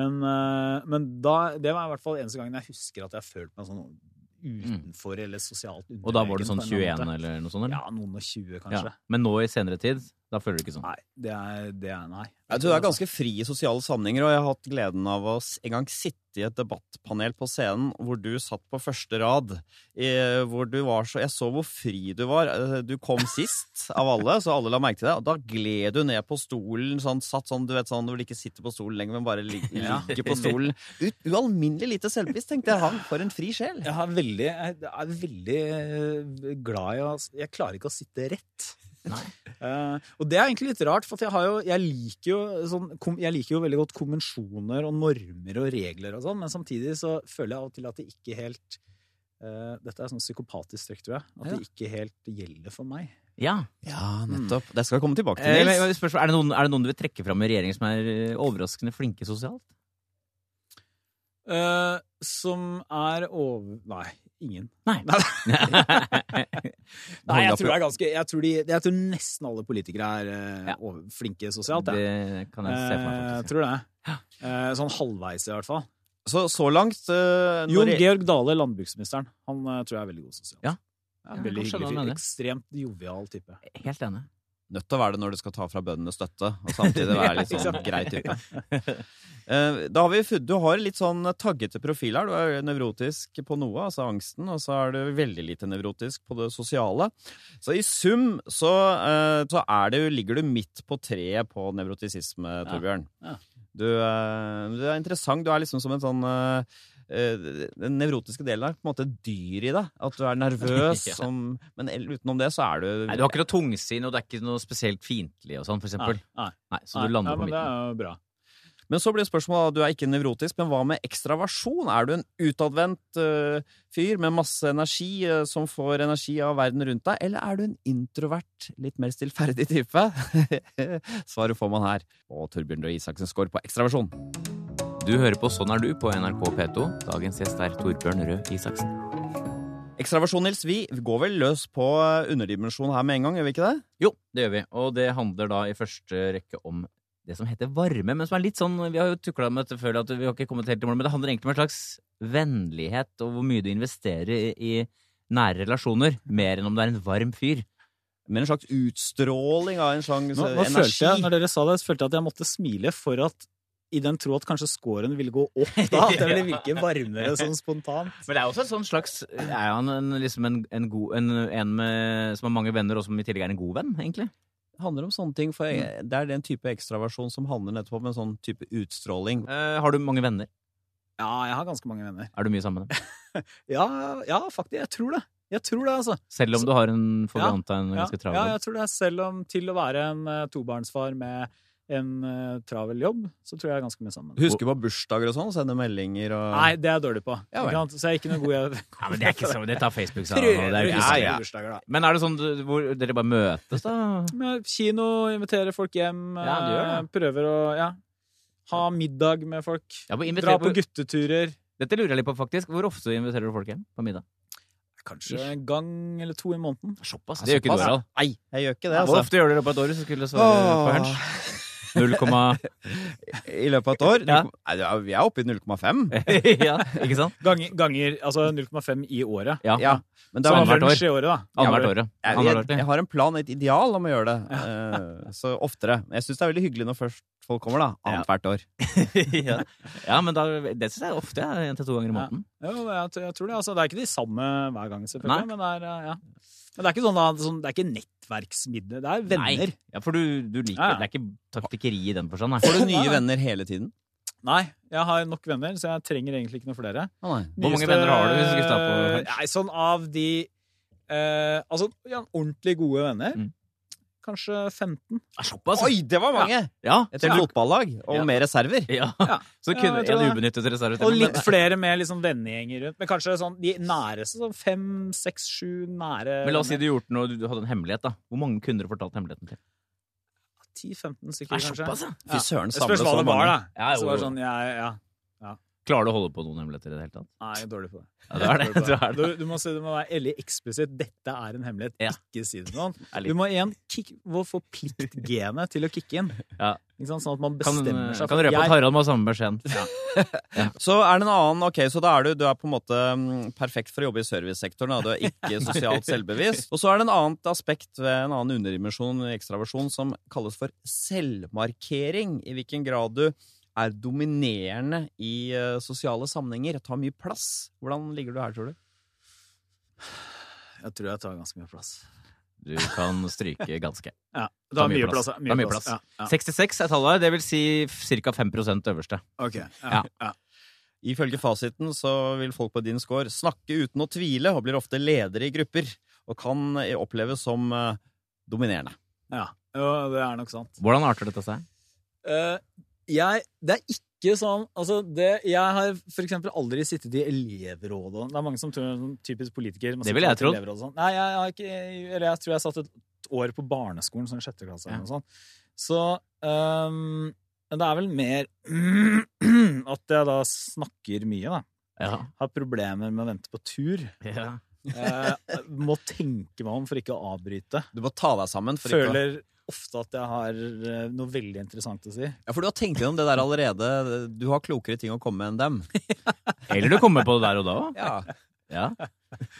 [SPEAKER 3] Men, eh, men da, det var i hvert fall eneste gangen jeg husker at jeg følte meg sånn utenfor eller sosialt underlegen.
[SPEAKER 2] Mm. Og da var du sånn
[SPEAKER 3] på
[SPEAKER 2] 21
[SPEAKER 3] en eller annen måte.
[SPEAKER 2] eller noe sånt? Eller?
[SPEAKER 3] Ja, noen og 20,
[SPEAKER 2] Ja.
[SPEAKER 3] kanskje.
[SPEAKER 2] Men nå i senere tid, da føler du ikke sånn?
[SPEAKER 3] Nei, det er, det er nei.
[SPEAKER 1] Jeg tror det er ganske fri i sosiale sammenhenger, og jeg har hatt gleden av å s- en gang sitte i et debattpanel på scenen hvor du satt på første rad. eh, Hvor du var så, jeg så hvor fri du var. Eh, Du kom sist av alle, så alle la merke til deg. Og da gled du ned på stolen, sånn, satt sånn, du vet sånn, du vil ikke sitte på stolen lenger, men bare lig-
[SPEAKER 3] Ja.
[SPEAKER 1] ligge på stolen. Ut, ualminnelig lite selvbevisst, tenkte jeg. Han, for en fri sjel.
[SPEAKER 3] Jeg er veldig, jeg er veldig eh, glad i å Jeg klarer ikke å sitte rett. Eh, og det er egentlig litt rart, for at jeg, har jo, jeg, liker jo sånn, kom, jeg liker jo veldig godt konvensjoner og normer og regler og sånn, men samtidig så føler jeg av og til at det ikke helt eh, Dette er sånn psykopatisk trekk, tror jeg. At det ikke helt gjelder for meg.
[SPEAKER 2] Ja.
[SPEAKER 1] Ja, nettopp. Mm. Det skal vi komme tilbake
[SPEAKER 2] Eh,
[SPEAKER 1] til,
[SPEAKER 2] men-
[SPEAKER 1] Nils.
[SPEAKER 2] men spørsmål, er, det noen, er det noen du vil trekke fram i regjeringen som er eh, overraskende flinke sosialt?
[SPEAKER 3] Eh, som er over... Nei, ingen.
[SPEAKER 2] Nei.
[SPEAKER 3] Nei.
[SPEAKER 2] ja,
[SPEAKER 3] Nei, jeg tror, det er ganske, jeg, tror de, jeg tror nesten alle politikere er eh,
[SPEAKER 2] Ja.
[SPEAKER 3] over, flinke sosialt. jeg.
[SPEAKER 2] Det kan jeg se for meg.
[SPEAKER 3] Eh,
[SPEAKER 2] faktisk, ja.
[SPEAKER 3] tror det. Eh, sånn halvveis, i hvert fall.
[SPEAKER 1] Så, så langt eh, når
[SPEAKER 3] Jon
[SPEAKER 1] jeg-
[SPEAKER 3] Georg Dale, landbruksministeren, han eh, tror jeg er veldig god sosialt.
[SPEAKER 2] Ja.
[SPEAKER 3] Ja,
[SPEAKER 2] Ja,
[SPEAKER 3] veldig
[SPEAKER 2] jeg kan skjønne
[SPEAKER 3] hyggelig
[SPEAKER 2] hva han
[SPEAKER 3] fyr.
[SPEAKER 2] mener.
[SPEAKER 3] Ekstremt jovial type.
[SPEAKER 2] Helt enig.
[SPEAKER 1] Nødt til å være det når du skal ta fra bøndene støtte, og samtidig være litt sånn
[SPEAKER 3] Ikke sant?
[SPEAKER 1] grei type. Eh, Da har vi, fun- du har litt sånn taggete profil her. Du er nevrotisk på noe, altså angsten, og så er du veldig lite nevrotisk på det sosiale. Så i sum så, eh, så er det, jo- ligger du midt på treet på nevrotisisme, Torbjørn.
[SPEAKER 3] Ja.
[SPEAKER 1] Du, eh, du er interessant. Du er liksom som en sånn eh, eh, den nevrotiske delen er på en måte dyr i deg. At du er nervøs,
[SPEAKER 2] Ja.
[SPEAKER 1] som, men el- utenom det så er du
[SPEAKER 2] Nei, du har ikke noe tungsinn, og det er ikke noe spesielt fiendtlig og sånn, for eksempel.
[SPEAKER 3] Nei, nei,
[SPEAKER 2] Nei, så du
[SPEAKER 3] nei,
[SPEAKER 2] lander
[SPEAKER 3] ja,
[SPEAKER 2] på
[SPEAKER 3] men det
[SPEAKER 2] midten.
[SPEAKER 3] er jo bra.
[SPEAKER 1] Men så blir spørsmålet, du er ikke nevrotisk, men hva med ekstraversjon? Er du en utadvendt eh, fyr med masse energi, eh, som får energi av verden rundt deg, eller er du en introvert, litt mer stillferdig type? Svaret får man her. Og Torbjørn Røe Isaksens score på ekstraversjon.
[SPEAKER 2] Du hører på Sånn er du på NRK P2. Dagens gjest er Torbjørn Røe Isaksen.
[SPEAKER 1] Ekstraversjon, Nils, vi går vel løs på eh, underdimensjon her med en gang, gjør vi ikke det?
[SPEAKER 2] Jo, det gjør vi. Og det handler da i første rekke om det som heter varme, men som er litt sånn Vi har jo tukla med dette før, at vi har ikke kommet helt i mål, men det handler egentlig om en slags vennlighet og hvor mye du investerer i, i nære relasjoner, mer enn om du er en varm fyr.
[SPEAKER 1] Med en slags utstråling av en slags
[SPEAKER 3] Nå,
[SPEAKER 1] eh,
[SPEAKER 3] nå
[SPEAKER 1] energi.
[SPEAKER 3] følte jeg, når dere sa det, så følte jeg at jeg måtte smile for at i den tro at kanskje scoren ville gå opp da. At jeg ville virke varmere sånn spontant.
[SPEAKER 2] Men det er også et sånn slags Er han en, liksom en, en god en, en med, som har mange venner, og som i tillegg er en god venn, egentlig?
[SPEAKER 1] Det handler om sånne ting, for jeg, det er den type ekstraversjon som handler nettopp om en sånn type utstråling.
[SPEAKER 2] Eh, har du mange venner?
[SPEAKER 3] Ja, jeg har ganske mange venner.
[SPEAKER 2] Er du mye sammen med dem?
[SPEAKER 3] Ja, ja faktisk. Jeg tror det. Jeg tror det, altså.
[SPEAKER 2] Selv om du har en, får vi
[SPEAKER 3] Ja,
[SPEAKER 2] anta, en
[SPEAKER 3] Ja,
[SPEAKER 2] ganske
[SPEAKER 3] ja,
[SPEAKER 2] travel
[SPEAKER 3] jeg tror det er selv om til å være en eh, tobarnsfar med en eh, travel jobb, så tror jeg jeg er ganske mye sammen.
[SPEAKER 1] Husker på bursdager og sånn, sende meldinger og
[SPEAKER 3] Nei, det er jeg dårlig på.
[SPEAKER 1] Ja, vel.
[SPEAKER 3] ikke sant? Så jeg er ikke noe god jeg
[SPEAKER 2] Ja, men det er ikke sånn. så, det tar Facebook seg av. det
[SPEAKER 3] Prøver
[SPEAKER 2] er jo
[SPEAKER 3] å
[SPEAKER 1] Ja,
[SPEAKER 2] ikke så-
[SPEAKER 3] huske
[SPEAKER 1] ja.
[SPEAKER 3] bursdager, da.
[SPEAKER 2] Men er det sånn du- hvor dere bare møtes, da?
[SPEAKER 3] Med Kino, invitere folk hjem,
[SPEAKER 2] Ja, du gjør
[SPEAKER 3] eh, prøver å ja, ha middag med folk.
[SPEAKER 2] Ja, men inviterer
[SPEAKER 3] Dra på
[SPEAKER 2] på-
[SPEAKER 3] gutteturer.
[SPEAKER 2] Dette lurer jeg litt på, faktisk. Hvor ofte inviterer du folk hjem på middag?
[SPEAKER 3] Kanskje en gang eller to i måneden.
[SPEAKER 2] Såpass. Det gjør ikke du,
[SPEAKER 1] Såpass?
[SPEAKER 2] Harald.
[SPEAKER 1] Nei, jeg gjør ikke det,
[SPEAKER 2] Hvor
[SPEAKER 1] altså.
[SPEAKER 2] ofte gjør dere det på et år hvis du skulle svare på hunch?
[SPEAKER 1] Åh.
[SPEAKER 2] 0, komma-
[SPEAKER 1] I løpet av et år?
[SPEAKER 2] Ja.
[SPEAKER 1] Nei, det er- vi er oppe i 0,5.
[SPEAKER 2] ja, ikke sant?
[SPEAKER 3] Ganger, ganger altså 0,5 i året.
[SPEAKER 2] Ja.
[SPEAKER 1] Ja. Men det er,
[SPEAKER 3] Så
[SPEAKER 2] Sånn. annethvert år.
[SPEAKER 3] lunsj i året, da.
[SPEAKER 2] Annethvert året.
[SPEAKER 1] jeg,
[SPEAKER 2] Annethvert
[SPEAKER 1] jeg,
[SPEAKER 2] år.
[SPEAKER 1] jeg har en plan, et ideal om å gjøre det. eh, så oftere. Jeg syns det er veldig hyggelig når først folk kommer, da.
[SPEAKER 2] Ja.
[SPEAKER 1] Annethvert år.
[SPEAKER 2] ja. ja, men da, det syns jeg ofte. ja, En til to ganger i måneden.
[SPEAKER 3] Jo, men jeg, tror- jeg tror det. Altså, det er ikke de samme hver gang,
[SPEAKER 2] Nei.
[SPEAKER 3] selvfølgelig. Men det, er, eh, ja. men det er ikke sånn da, sånn, det er ikke nettverksmidler. Det er venner.
[SPEAKER 2] Nei. Ja, for du, du liker
[SPEAKER 3] Ja, ja.
[SPEAKER 2] Det er ikke taktikkeri i den forstand.
[SPEAKER 1] Får
[SPEAKER 2] Nei.
[SPEAKER 1] du nye venner hele tiden?
[SPEAKER 3] Nei, jeg har nok venner, så jeg trenger egentlig ikke noe flere.
[SPEAKER 1] Å, nei.
[SPEAKER 2] Hvor mange venner har du hvis du skulle ta på
[SPEAKER 3] Nyeste-
[SPEAKER 2] hunch?
[SPEAKER 3] Nei, sånn av de eh, Altså, ja, ordentlig gode venner.
[SPEAKER 2] Mm.
[SPEAKER 3] Kanskje 15.
[SPEAKER 2] Ja, Såpass?
[SPEAKER 1] Oi, det var mange!
[SPEAKER 2] Ja.
[SPEAKER 1] Et helt fotballag og
[SPEAKER 2] Ja.
[SPEAKER 1] mer reserver.
[SPEAKER 2] ja.
[SPEAKER 3] Ja.
[SPEAKER 2] Så kunne
[SPEAKER 3] Ja, jeg tror
[SPEAKER 2] en
[SPEAKER 3] det.
[SPEAKER 2] ubenyttet reserve til.
[SPEAKER 3] Og
[SPEAKER 2] men-
[SPEAKER 3] litt flere med liksom vennegjenger rundt. Men kanskje sånn de næreste. Sånn fem, seks, sju nære
[SPEAKER 2] Men la oss si du gjorde noe, du hadde en hemmelighet, da. Hvor mange kunne du fortalt hemmeligheten til?
[SPEAKER 3] 10-15 stykker,
[SPEAKER 2] Nei,
[SPEAKER 3] kanskje.
[SPEAKER 2] såpass, ja.
[SPEAKER 1] Fy søren,
[SPEAKER 3] Det spørs
[SPEAKER 1] samle
[SPEAKER 3] hva
[SPEAKER 1] så
[SPEAKER 3] det var,
[SPEAKER 1] mange.
[SPEAKER 3] da.
[SPEAKER 2] Ja, jo,
[SPEAKER 3] Så var det
[SPEAKER 2] jo.
[SPEAKER 3] sånn, ja, ja.
[SPEAKER 2] Klarer du å holde på noen hemmeligheter i det hele tatt?
[SPEAKER 3] Nei, jeg er dårlig på det.
[SPEAKER 2] Ja, du er det. Du er
[SPEAKER 3] Du,
[SPEAKER 2] det.
[SPEAKER 3] du, må, si- du må være veldig eksplisitt. Dette er en hemmelighet.
[SPEAKER 2] Ja.
[SPEAKER 3] Ikke si det til noen.
[SPEAKER 2] er litt-
[SPEAKER 3] Du må igjen kick, må få pliktgenet til å kicke inn.
[SPEAKER 2] Ja.
[SPEAKER 3] Ikke sant? Sånn at man
[SPEAKER 2] Kan, eh,
[SPEAKER 3] bestemmer seg.
[SPEAKER 2] kan
[SPEAKER 3] for-
[SPEAKER 2] røpe
[SPEAKER 3] Jeg-
[SPEAKER 2] at Harald må ha samme beskjeden.
[SPEAKER 1] Så er det en annen Ok, så da er du, du er på en måte mm, perfekt for å jobbe i servicesektoren. Da. Du er ikke sosialt selvbevisst. Og så er det en annet aspekt ved en annen underdimensjon, ekstraversjon, som kalles for selvmarkering. I hvilken grad du er dominerende i eh, sosiale sammenhenger. Tar mye plass. Hvordan ligger du her, tror du?
[SPEAKER 3] Jeg tror jeg tar ganske mye plass.
[SPEAKER 2] Du kan stryke ganske.
[SPEAKER 3] Ja,
[SPEAKER 2] Du har mye plass.
[SPEAKER 3] ja.
[SPEAKER 2] Du har mye plass. 66 er tallet, det vil si ca. 5 øverste.
[SPEAKER 3] Ok.
[SPEAKER 2] Ja.
[SPEAKER 3] ja.
[SPEAKER 1] Ifølge fasiten så vil folk på din score snakke uten å tvile, og blir ofte ledere i grupper. Og kan eh, oppleves som eh, dominerende.
[SPEAKER 3] Ja. Jo, det er nok sant.
[SPEAKER 2] Hvordan arter dette seg?
[SPEAKER 3] Eh, jeg Det er ikke sånn Altså, det Jeg har for eksempel aldri sittet i elevrådet. og- Det er mange som tror sånn typisk politiker man
[SPEAKER 2] Det ville jeg
[SPEAKER 3] sitter
[SPEAKER 2] trodd.
[SPEAKER 3] i elevrådet og sånn. Nei, jeg har ikke Eller jeg tror jeg satt et år på barneskolen, sånn sjette klasse
[SPEAKER 2] Ja.
[SPEAKER 3] eller noe sånt. Så ehm, men det er vel mer at jeg da snakker mye, da.
[SPEAKER 2] Ja.
[SPEAKER 3] Har problemer med å vente på tur. Eh, må tenke meg om for ikke å avbryte.
[SPEAKER 1] Du må ta deg sammen. For ikke å-
[SPEAKER 3] Føler ofte at jeg har eh, noe veldig interessant å si.
[SPEAKER 1] Ja, for du har tenkt gjennom det der allerede. Du har klokere ting å komme med enn dem.
[SPEAKER 2] Eller du kommer på det der og da òg.
[SPEAKER 1] Ja.
[SPEAKER 2] Ja.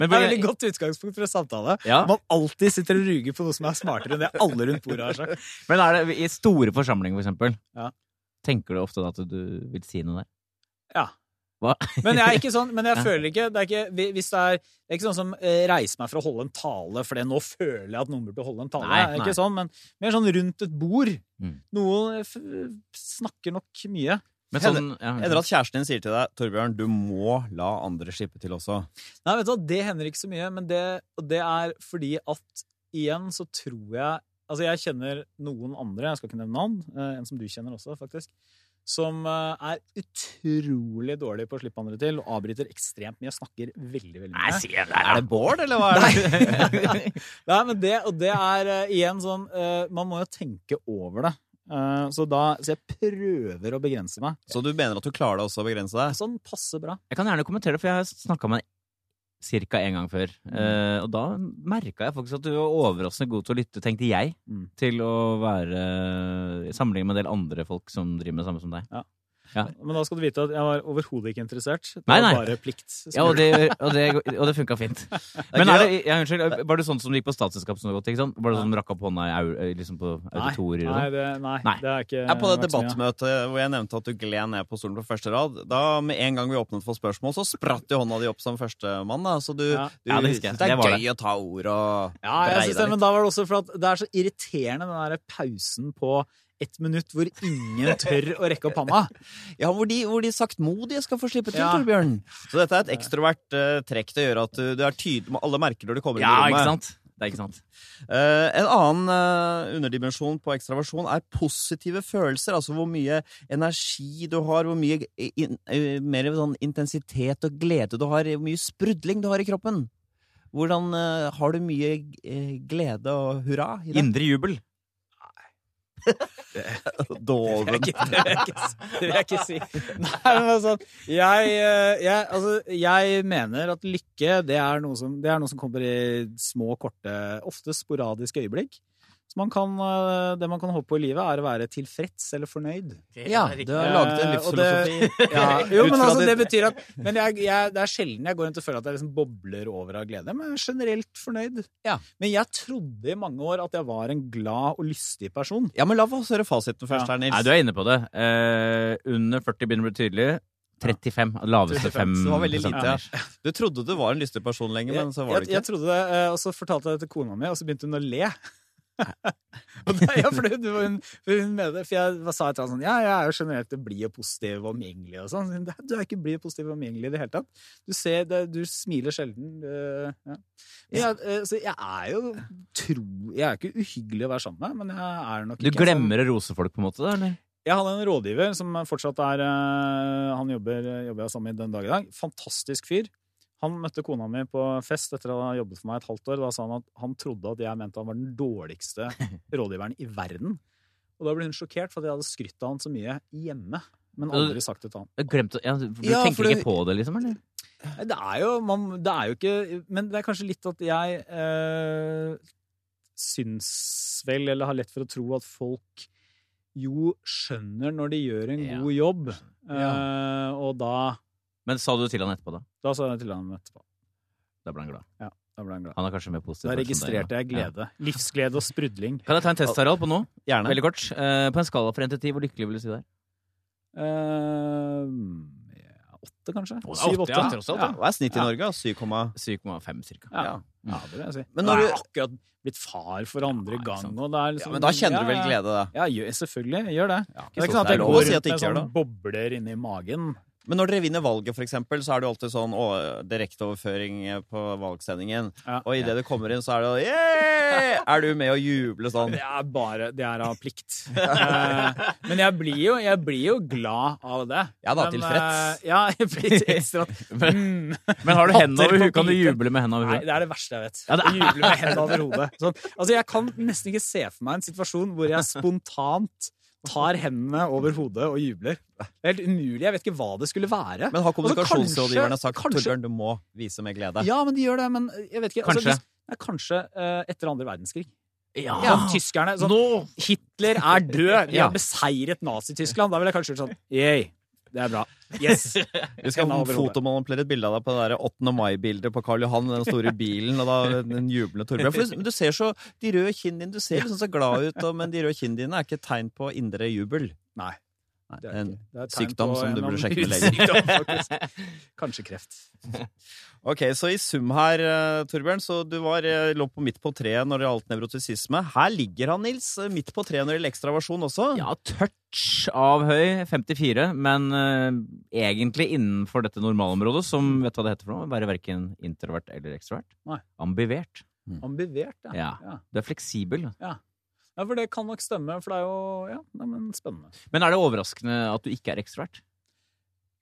[SPEAKER 2] Men
[SPEAKER 3] Det er et veldig godt utgangspunkt for en samtale.
[SPEAKER 2] Ja.
[SPEAKER 3] Man alltid sitter og ruger på noe som er smartere enn det alle rundt bordet har sagt.
[SPEAKER 2] Men er det i store forsamlinger, for eksempel,
[SPEAKER 3] Ja.
[SPEAKER 2] tenker du ofte da at du vil si noe der?
[SPEAKER 3] Ja.
[SPEAKER 2] Hva?
[SPEAKER 3] Men jeg er ikke sånn, men jeg
[SPEAKER 2] Ja.
[SPEAKER 3] føler ikke, det er ikke hvi- Hvis det er, det er ikke sånn som eh, reiser meg for å holde en tale, fordi nå føler jeg at noen burde holde en tale.
[SPEAKER 2] Nei,
[SPEAKER 3] det er
[SPEAKER 2] nei.
[SPEAKER 3] ikke sånn, men mer sånn rundt et bord.
[SPEAKER 2] Mm.
[SPEAKER 3] Noen eh, f- snakker nok mye.
[SPEAKER 2] Men sånn, ja.
[SPEAKER 1] Etter at kjæresten din sier til deg Torbjørn, du må la andre slippe til også.
[SPEAKER 3] Nei, vet du hva, det hender ikke så mye, men det, og det er fordi at igjen så tror jeg Altså, jeg kjenner noen andre, jeg skal ikke nevne navn, eh, en som du kjenner også, faktisk, som eh, er utrolig dårlig på å slippe andre til, og avbryter ekstremt mye og snakker veldig, veldig mye.
[SPEAKER 2] jeg
[SPEAKER 1] Er det Bård, eller hva er det?
[SPEAKER 3] Nei, Nei, men det, og det er eh, igjen sånn eh, Man må jo tenke over det. Eh, så, da, så jeg prøver å begrense meg.
[SPEAKER 1] Så du mener at du klarer deg også å begrense deg?
[SPEAKER 3] Sånn passe bra.
[SPEAKER 2] Jeg kan gjerne kommentere det, for jeg har snakka med deg ca. én gang før. Eh, og da merka jeg faktisk at du var overraskende god til å lytte, tenkte jeg,
[SPEAKER 3] Mm.
[SPEAKER 2] til å være i sammenligning med en del andre folk som driver med det samme som deg.
[SPEAKER 3] Men da skal du vite at jeg var overhodet ikke interessert. Det
[SPEAKER 2] Nei, nei.
[SPEAKER 3] var bare plikt.
[SPEAKER 2] Ja, og det, og det, og det funka fint. Men
[SPEAKER 1] gøy,
[SPEAKER 2] er det, ja, unnskyld, var du sånn som du gikk på statsselskap som du har gått, ikke sant? Var det sånn som rakk opp hånda i, au- liksom på auditorier og
[SPEAKER 3] Nei,
[SPEAKER 2] sånn?
[SPEAKER 3] det, nei,
[SPEAKER 2] Nei.
[SPEAKER 3] det er ikke
[SPEAKER 1] Jeg er på det
[SPEAKER 3] vært så mye.
[SPEAKER 1] debattmøtet hvor jeg nevnte at du gled ned på stolen på første rad. Da, Med en gang vi åpnet for spørsmål, så spratt jo hånda di opp som førstemann. da. Så du,
[SPEAKER 3] Ja.
[SPEAKER 1] du
[SPEAKER 2] Ja, det
[SPEAKER 1] synes
[SPEAKER 2] husker jeg.
[SPEAKER 1] det er
[SPEAKER 2] Det var
[SPEAKER 1] gøy å ta ord og
[SPEAKER 3] Ja, jeg synes det, men da var det også for at det er så irriterende den der pausen på ett minutt hvor ingen tør å rekke opp hånda.
[SPEAKER 1] Ja, hvor de, hvor de saktmodige skal få slippe til,
[SPEAKER 3] Ja.
[SPEAKER 1] Torbjørn. Så dette er et ekstrovert eh, trekk til å gjøre at du, du er tydelig Alle merker når du kommer
[SPEAKER 2] Ja,
[SPEAKER 1] inn i
[SPEAKER 2] ikke
[SPEAKER 1] rommet.
[SPEAKER 2] sant? Det er ikke sant.
[SPEAKER 1] Eh, en annen eh, underdimensjon på ekstraversjon er positive følelser. Altså hvor mye energi du har, hvor mye in, eh, mer sånn intensitet og glede du har, hvor mye sprudling du har i kroppen. Hvordan eh, Har du mye eh, glede og hurra i deg?
[SPEAKER 2] Indre jubel.
[SPEAKER 1] Doven.
[SPEAKER 3] Det vil jeg ikke, si- det vil jeg ikke si. Nei, men altså, jeg, eh, jeg, altså, jeg mener at lykke, det er, noe som, det er noe som kommer i små, korte, ofte sporadiske øyeblikk. Så man kan, eh, det man kan håpe på i livet, er å være tilfreds eller fornøyd.
[SPEAKER 1] Ja, du har
[SPEAKER 3] Eh,
[SPEAKER 1] laget en
[SPEAKER 3] og det-
[SPEAKER 1] livsfilosofi.
[SPEAKER 3] Ja, jo,
[SPEAKER 1] Ut
[SPEAKER 3] men
[SPEAKER 1] fra
[SPEAKER 3] altså,
[SPEAKER 1] ditt-
[SPEAKER 3] det betyr at men jeg, jeg, Det er sjelden jeg går rundt og føler at jeg liksom bobler over av glede, men jeg er generelt fornøyd.
[SPEAKER 1] Ja.
[SPEAKER 3] Men jeg trodde i mange år at jeg var en glad og lystig person.
[SPEAKER 1] Ja, men la oss høre fasiten først her, Nils.
[SPEAKER 2] Nei, du er inne på det. Eh, under 40 begynner å bli tydelig. 35. Laveste 5
[SPEAKER 1] Så det var veldig lite, ja.
[SPEAKER 2] prosenten.
[SPEAKER 1] Du trodde du var en lystig person lenge, men så var
[SPEAKER 3] jeg,
[SPEAKER 1] det
[SPEAKER 3] jeg
[SPEAKER 1] ikke.
[SPEAKER 3] trodde det, eh, og så fortalte jeg det til kona mi, og så begynte hun å le. og da, ja, for, hun, hun, for hun mener det, for jeg sa et eller annet sånn Ja, jeg er jo generelt blid og positiv og omgjengelig og sånn. Så hun, Du er ikke blid og positiv og omgjengelig i det hele tatt. Du, ser, det, du smiler sjelden. eh, ja. Men jeg, eh, så jeg er jo tro Jeg er ikke uhyggelig å være sammen med, men jeg er nok
[SPEAKER 2] Du
[SPEAKER 3] ikke sånn-
[SPEAKER 2] glemmer å rose folk, på en måte? da, Eller?
[SPEAKER 3] jeg hadde en rådgiver som fortsatt er eh, Han jobber, jobber jeg sammen med den dag i dag. Fantastisk fyr. Han møtte kona mi på fest etter å ha jobbet for meg et halvt år. Da sa han at han trodde at jeg mente han var den dårligste rådgiveren i verden. Og da ble hun sjokkert, for at jeg hadde skrytt av han så mye hjemme. Men aldri sagt det til han.
[SPEAKER 2] Jeg Glemte, ja, du du
[SPEAKER 1] Ja, for
[SPEAKER 2] tenker
[SPEAKER 1] det-
[SPEAKER 2] ikke på det, liksom? Eller?
[SPEAKER 3] Nei, Det er jo, man, det er jo ikke Men det er kanskje litt at jeg eh, syns vel, eller har lett for å tro, at folk jo skjønner når de gjør en
[SPEAKER 2] Ja.
[SPEAKER 3] god jobb. Eh, og da,
[SPEAKER 2] Men sa du til han etterpå, da?
[SPEAKER 3] da sa jeg til ham etterpå.
[SPEAKER 2] Da ble han glad.
[SPEAKER 3] Da ble han glad.
[SPEAKER 2] Han er kanskje mer positiv.
[SPEAKER 3] Da
[SPEAKER 2] person enn deg,
[SPEAKER 3] registrerte jeg
[SPEAKER 2] ja.
[SPEAKER 3] glede. Livsglede og sprudling.
[SPEAKER 2] Kan jeg ta en test, Harald, på nå?
[SPEAKER 1] Gjerne.
[SPEAKER 2] Veldig kort. Eh, på en skala fra 1 til 10, hvor lykkelig vil du si deg?
[SPEAKER 3] Eh, ja, åtte,
[SPEAKER 2] Å,
[SPEAKER 3] kanskje?
[SPEAKER 2] det er åtte,
[SPEAKER 3] Syv-åtte.
[SPEAKER 2] ja, tross alt, ja.
[SPEAKER 1] Hva er snittet i
[SPEAKER 3] Ja.
[SPEAKER 1] Norge? 7,5?
[SPEAKER 2] 7,5 cirka.
[SPEAKER 3] Ja. Ja, det vil jeg si.
[SPEAKER 1] Men
[SPEAKER 3] Men
[SPEAKER 1] når
[SPEAKER 3] når
[SPEAKER 1] du-
[SPEAKER 3] jeg er akkurat blitt far for andre
[SPEAKER 2] Ja, ikke
[SPEAKER 3] gang,
[SPEAKER 2] sant.
[SPEAKER 3] og det er
[SPEAKER 1] Ja,
[SPEAKER 3] liksom
[SPEAKER 1] men da kjenner du vel
[SPEAKER 3] Ja, ja.
[SPEAKER 1] glede, da?
[SPEAKER 3] Ja, gjør, selvfølgelig. jeg Gjør det.
[SPEAKER 2] Ikke
[SPEAKER 3] Det er
[SPEAKER 2] så-
[SPEAKER 3] ikke sånn at
[SPEAKER 1] det er
[SPEAKER 3] jeg
[SPEAKER 1] lov
[SPEAKER 3] går
[SPEAKER 1] å
[SPEAKER 3] rundt
[SPEAKER 1] si at du
[SPEAKER 3] med
[SPEAKER 1] ikke gjør
[SPEAKER 3] sånn bobler inni magen.
[SPEAKER 1] Men når dere vinner valget, for eksempel, så er det jo alltid sånn å, direkteoverføring på valgsendingen.
[SPEAKER 3] Ja.
[SPEAKER 1] Og idet det kommer inn, så er det sånn yeah! Er du med å juble sånn?
[SPEAKER 3] Det er bare Det er av plikt. Eh, Men jeg blir jo, jeg blir jo glad av det.
[SPEAKER 1] Ja da,
[SPEAKER 3] Men,
[SPEAKER 1] tilfreds.
[SPEAKER 3] eh, Ja, jeg blir ekstra
[SPEAKER 2] Men,
[SPEAKER 3] Mm.
[SPEAKER 2] men har du hendene over
[SPEAKER 3] Hatter på
[SPEAKER 2] huet, kan du
[SPEAKER 3] hvite.
[SPEAKER 2] juble med hendene over
[SPEAKER 3] Nei,
[SPEAKER 2] huet?
[SPEAKER 3] det er det verste jeg vet.
[SPEAKER 2] Ja, det
[SPEAKER 3] Å juble med hendene over hodet. Sånn. Altså, jeg kan nesten ikke se for meg en situasjon hvor jeg spontant tar hendene over hodet og jubler. Det er helt umulig. Jeg vet ikke hva det skulle være.
[SPEAKER 1] Men har
[SPEAKER 3] Altså,
[SPEAKER 1] kommunikasjonsrådgiverne sagt
[SPEAKER 3] kanskje-
[SPEAKER 1] Torbjørn, du må vise med glede?
[SPEAKER 3] Ja, men de gjør det. Men jeg vet ikke. Altså,
[SPEAKER 2] Kanskje.
[SPEAKER 3] hvis, nei, kanskje eh, etter andre verdenskrig.
[SPEAKER 2] Ja!
[SPEAKER 3] Sånn, tyskerne sånn,
[SPEAKER 2] Nå!
[SPEAKER 3] Hitler er død. Vi
[SPEAKER 2] Ja.
[SPEAKER 3] har beseiret Nazi-Tyskland. Da ville jeg kanskje gjort sånn Yay. Det er bra. Yes.
[SPEAKER 1] Vi skal
[SPEAKER 3] Hendene over hodet.
[SPEAKER 1] fotomanipulere et bilde av deg på det der 8. mai-bildet på Karl Johan, den store bilen, og da den jublende Torbjørn. For du- du ser så De røde kinnene dine Du ser liksom så glad ut, og- men de røde kinnene dine er ikke et tegn på indre jubel.
[SPEAKER 3] Nei.
[SPEAKER 1] Nei,
[SPEAKER 3] Det er
[SPEAKER 1] en-
[SPEAKER 3] ikke- det er et tegn
[SPEAKER 1] sykdom
[SPEAKER 3] på
[SPEAKER 1] som
[SPEAKER 3] en
[SPEAKER 1] du burde
[SPEAKER 3] eller annen
[SPEAKER 1] sjekke med legen.
[SPEAKER 3] hudsykdom, faktisk. Kanskje kreft.
[SPEAKER 1] Ok, så i sum her, eh, Torbjørn, så du var, eh, lå på midt på treet når det gjaldt nevrotisisme. Her ligger han, Nils, eh, midt på treet når det gjelder ekstraversjon også.
[SPEAKER 2] Ja, touch av høy, 54, men eh, egentlig innenfor dette normalområdet, som vet du hva det heter for noe, være verken introvert eller ekstrovert.
[SPEAKER 3] Nei.
[SPEAKER 2] Ambivert.
[SPEAKER 3] Ambivert, ja.
[SPEAKER 2] Ja.
[SPEAKER 3] ja.
[SPEAKER 2] Du er fleksibel.
[SPEAKER 3] Ja, for det kan nok stemme, for det er jo ja, nei, men spennende.
[SPEAKER 2] Men er det overraskende at du ikke er ekstrovert?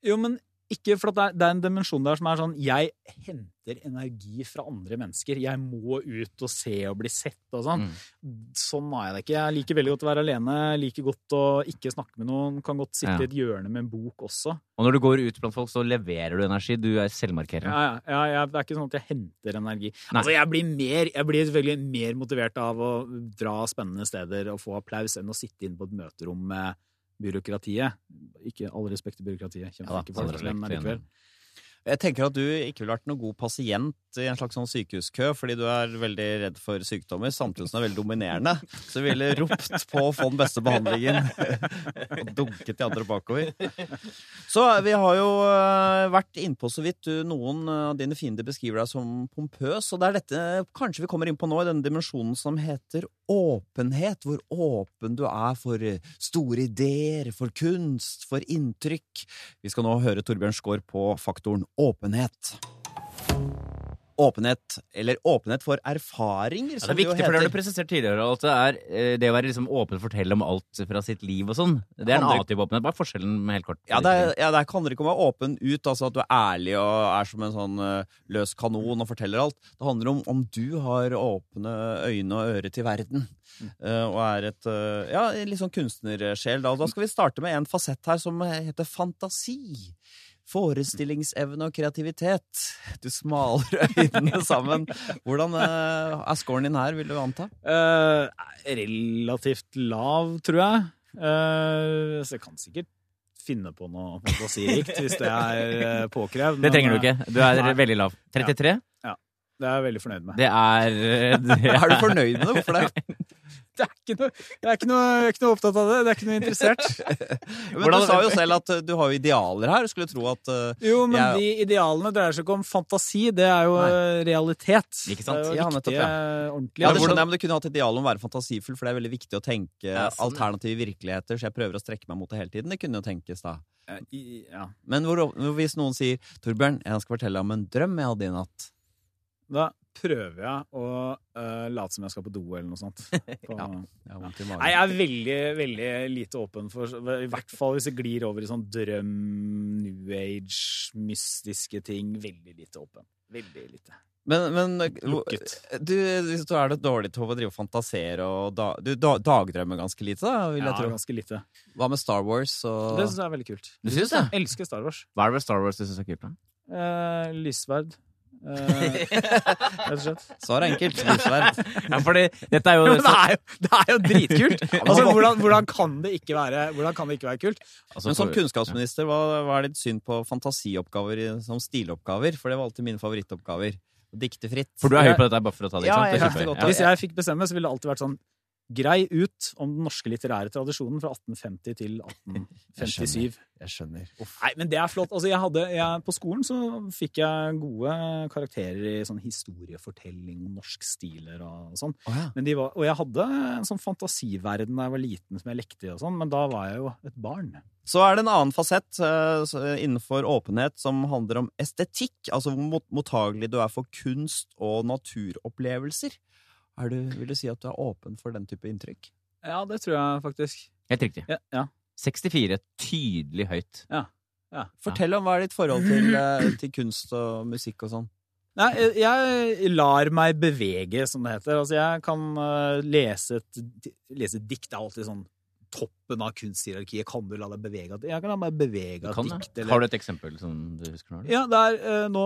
[SPEAKER 3] Jo, men ikke for at det er, det er en dimensjon der som er sånn Jeg henter energi fra andre mennesker. Jeg må ut og se og bli sett og sånn.
[SPEAKER 2] Mm.
[SPEAKER 3] Sånn er jeg det ikke. Jeg liker veldig godt å være alene. Liker godt å ikke snakke med noen. Kan godt sitte
[SPEAKER 2] Ja.
[SPEAKER 3] i et hjørne med en bok også.
[SPEAKER 2] Og når du går ut blant folk, så leverer du energi. Du er selvmarkerende.
[SPEAKER 3] Ja, ja, ja, jeg, det er ikke sånn at jeg henter energi.
[SPEAKER 2] Nei.
[SPEAKER 3] Altså, jeg blir, mer, jeg blir selvfølgelig mer motivert av å dra spennende steder og få applaus enn å sitte inne på et møterom med byråkratiet. Ikke all respekt til byråkratiet,
[SPEAKER 2] da,
[SPEAKER 3] kjempeflinke
[SPEAKER 2] all
[SPEAKER 3] folk,
[SPEAKER 2] respekt
[SPEAKER 3] men
[SPEAKER 2] til-
[SPEAKER 3] allikevel.
[SPEAKER 1] Jeg tenker at du ikke ville vært noen god pasient i en slags sånn sykehuskø, fordi du er veldig redd for sykdommer, samtidig som du er veldig dominerende. Så du ville ropt på å få den beste behandlingen og dunket de andre bakover. Så vi har jo eh, vært innpå så vidt. Du, noen av dine fiender beskriver deg som pompøs, og det er dette kanskje vi kommer inn på nå, i denne dimensjonen som heter åpenhet. Hvor åpen du er for eh, store ideer, for kunst, for inntrykk. Vi skal nå høre Torbjørn Skaar på faktoren åpenhet. Åpenhet, eller åpenhet for erfaringer,
[SPEAKER 2] Ja, det
[SPEAKER 1] som
[SPEAKER 2] er
[SPEAKER 1] det jo
[SPEAKER 2] viktig, for det har du
[SPEAKER 1] heter.
[SPEAKER 2] presisert tidligere, at det er eh, det å være liksom åpen og fortelle om alt fra sitt liv og sånn. Det er en
[SPEAKER 1] Andre-
[SPEAKER 2] annen type åpenhet. Hva er forskjellen med helt kort?
[SPEAKER 1] Ja, det er, ja, der handler det ikke om å være åpen ut, altså at du er ærlig og er som en sånn eh, løs kanon og forteller alt. Det handler om om du har åpne øyne og ører til verden, eh, og er et eh, ja, en litt sånn kunstnersjel. Da. Og da skal vi starte med en fasett her som heter fantasi. Forestillingsevne og kreativitet. Du smaler øynene sammen. Hvordan eh, er scoren din her, vil du anta?
[SPEAKER 3] Eh, relativt lav, tror jeg. Eh, så jeg kan sikkert finne på noe fantasirikt hvis det er eh, påkrevd.
[SPEAKER 2] Det
[SPEAKER 3] men,
[SPEAKER 2] trenger du
[SPEAKER 3] eh,
[SPEAKER 2] ikke. Du er
[SPEAKER 3] Nei.
[SPEAKER 2] veldig lav. 33?
[SPEAKER 3] Det er jeg veldig fornøyd med.
[SPEAKER 2] Det er eh, det
[SPEAKER 1] Er du fornøyd med det? Hvorfor det?
[SPEAKER 3] Det er ikke noe, jeg er ikke noe, jeg er ikke noe opptatt av det. Det er ikke noe interessert.
[SPEAKER 1] Men
[SPEAKER 2] Hvordan-
[SPEAKER 1] Du sa jo selv at eh, du har jo idealer her. Skulle tro at eh,
[SPEAKER 3] Jo, men
[SPEAKER 1] Jeg-
[SPEAKER 3] de idealene dreier seg ikke om fantasi, det er jo eh, realitet.
[SPEAKER 2] Ikke sant?
[SPEAKER 3] Det er jo eh,
[SPEAKER 1] Ja,
[SPEAKER 3] riktige,
[SPEAKER 1] nettopp, Ja, det
[SPEAKER 3] ordentlige
[SPEAKER 2] hvordan-
[SPEAKER 1] skjønner jeg, men Du kunne hatt ideal om å være fantasifull, for det er veldig viktig å tenke
[SPEAKER 2] sånn, ja.
[SPEAKER 1] alternative virkeligheter. Så jeg prøver å strekke meg mot det hele tiden. Det kunne jo tenkes, da.
[SPEAKER 3] Eh, i- ja.
[SPEAKER 1] Men hvor, hvis noen sier 'Torbjørn, jeg skal fortelle deg om en drøm jeg hadde i natt',
[SPEAKER 3] Da prøver jeg å eh, late som jeg skal på do eller noe sånt. På,
[SPEAKER 1] jeg har vondt i
[SPEAKER 3] Nei,
[SPEAKER 1] magen.
[SPEAKER 3] jeg er veldig, veldig lite åpen for I hvert fall hvis det glir over i sånn drøm, new age, mystiske ting. Veldig lite åpen. Veldig lite.
[SPEAKER 1] Men, men
[SPEAKER 3] Lukket.
[SPEAKER 1] du, hvis du er det dårlig til å drive og fantasere og da, Du da, dagdrømmer ganske lite, da, vil
[SPEAKER 3] Ja,
[SPEAKER 1] jeg tro.
[SPEAKER 3] ganske lite.
[SPEAKER 1] Hva med Star Wars og
[SPEAKER 3] Det syns jeg er veldig kult.
[SPEAKER 2] Du syns det?
[SPEAKER 3] Elsker Star Wars.
[SPEAKER 2] Hva er det med Star Wars du syns er kult? da?
[SPEAKER 3] Eh, lyssverd. Eh, rett og slett.
[SPEAKER 1] Svar er enkelt. Lysverd.
[SPEAKER 2] Ja, fordi dette er jo,
[SPEAKER 3] Jo, men det er jo, det er jo dritkult!
[SPEAKER 2] Ja, men
[SPEAKER 3] Altså,
[SPEAKER 2] hva-
[SPEAKER 3] hvordan, hvordan, kan det ikke være, hvordan kan det ikke være kult?
[SPEAKER 2] Altså,
[SPEAKER 1] Men som
[SPEAKER 2] for-
[SPEAKER 1] kunnskapsminister, hva, hva er ditt syn på fantasioppgaver i- som stiloppgaver? For det var alltid mine favorittoppgaver. Dikte fritt.
[SPEAKER 2] For du er høy på dette her, bare for å ta det, ikke
[SPEAKER 1] Ja, jeg
[SPEAKER 2] sant? Det er
[SPEAKER 1] likte
[SPEAKER 2] kjempehøy.
[SPEAKER 1] godt
[SPEAKER 2] Ja.
[SPEAKER 1] det.
[SPEAKER 3] Hvis jeg fikk bestemme, så ville det alltid vært sånn Grei ut om den norske litterære tradisjonen fra 1850 til 1857.
[SPEAKER 1] Jeg skjønner. Uff.
[SPEAKER 3] Nei, men det er flott. Altså, jeg hadde, jeg, på skolen så fikk jeg gode karakterer i sånn historiefortelling, norskstiler og sånn.
[SPEAKER 1] Å ja.
[SPEAKER 3] Men de var, og jeg hadde en sånn fantasiverden da jeg var liten som jeg lekte i og sånn, men da var jeg jo et barn.
[SPEAKER 1] Så er det en annen fasett eh, s- innenfor åpenhet som handler om estetikk. Altså hvor mot- mottagelig du er for kunst og naturopplevelser. Er du, vil du si at du er åpen for den type inntrykk?
[SPEAKER 3] Ja, det tror jeg faktisk.
[SPEAKER 2] Helt riktig.
[SPEAKER 3] Ja, ja.
[SPEAKER 2] 64. Tydelig høyt.
[SPEAKER 1] Fortell om hva er ditt forhold til, eh, til kunst og musikk og sånn.
[SPEAKER 3] Nei, jeg- jeg lar meg bevege, som det heter. Altså, jeg kan eh, lese et di- lese et dikt. Det er alltid sånn toppen av kunsthierarkiet. Kan du la deg bevege av det? Jeg kan la meg bevege
[SPEAKER 2] Du
[SPEAKER 3] av
[SPEAKER 2] kan,
[SPEAKER 3] et dikt.
[SPEAKER 2] det.
[SPEAKER 3] eller-
[SPEAKER 2] Har du et eksempel som du husker nå? eller?
[SPEAKER 3] Ja, det er eh, nå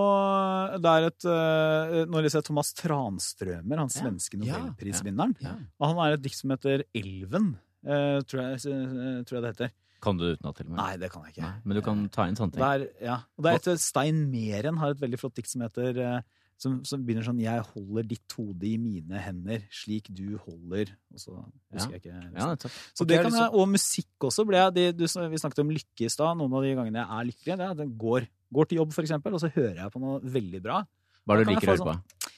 [SPEAKER 3] det er et eh, Nå leser jeg Thomas Tranströmer, han svenske
[SPEAKER 1] Ja,
[SPEAKER 3] nobelprisvinneren.
[SPEAKER 2] ja.
[SPEAKER 3] Og han har et dikt som heter Elven, eh, tror, jeg, eh, tror jeg det heter.
[SPEAKER 2] Kan du det utenat, til og med?
[SPEAKER 3] Nei, det kan jeg ikke.
[SPEAKER 2] Nei, Men du kan ta inn sånne ting.
[SPEAKER 3] Det er, ja. Og det er et eh, Stein Meren har et veldig flott dikt som heter eh, som, som begynner sånn 'Jeg holder ditt hode i mine hender, slik du holder' Og så husker jeg ikke resten.
[SPEAKER 2] Ja, nettopp.
[SPEAKER 3] Så
[SPEAKER 1] Ok,
[SPEAKER 3] det
[SPEAKER 1] jeg har
[SPEAKER 3] kan
[SPEAKER 1] lyst
[SPEAKER 3] jeg, Og musikk også. Ble jeg, de, du, sn- vi snakket om lykke i stad. Noen av de gangene jeg er lykkelig, det er at jeg går, går til jobb, for eksempel, og så hører jeg på noe veldig bra.
[SPEAKER 2] Hva er det du
[SPEAKER 3] Da kan
[SPEAKER 2] liker å
[SPEAKER 3] jeg
[SPEAKER 2] høre på?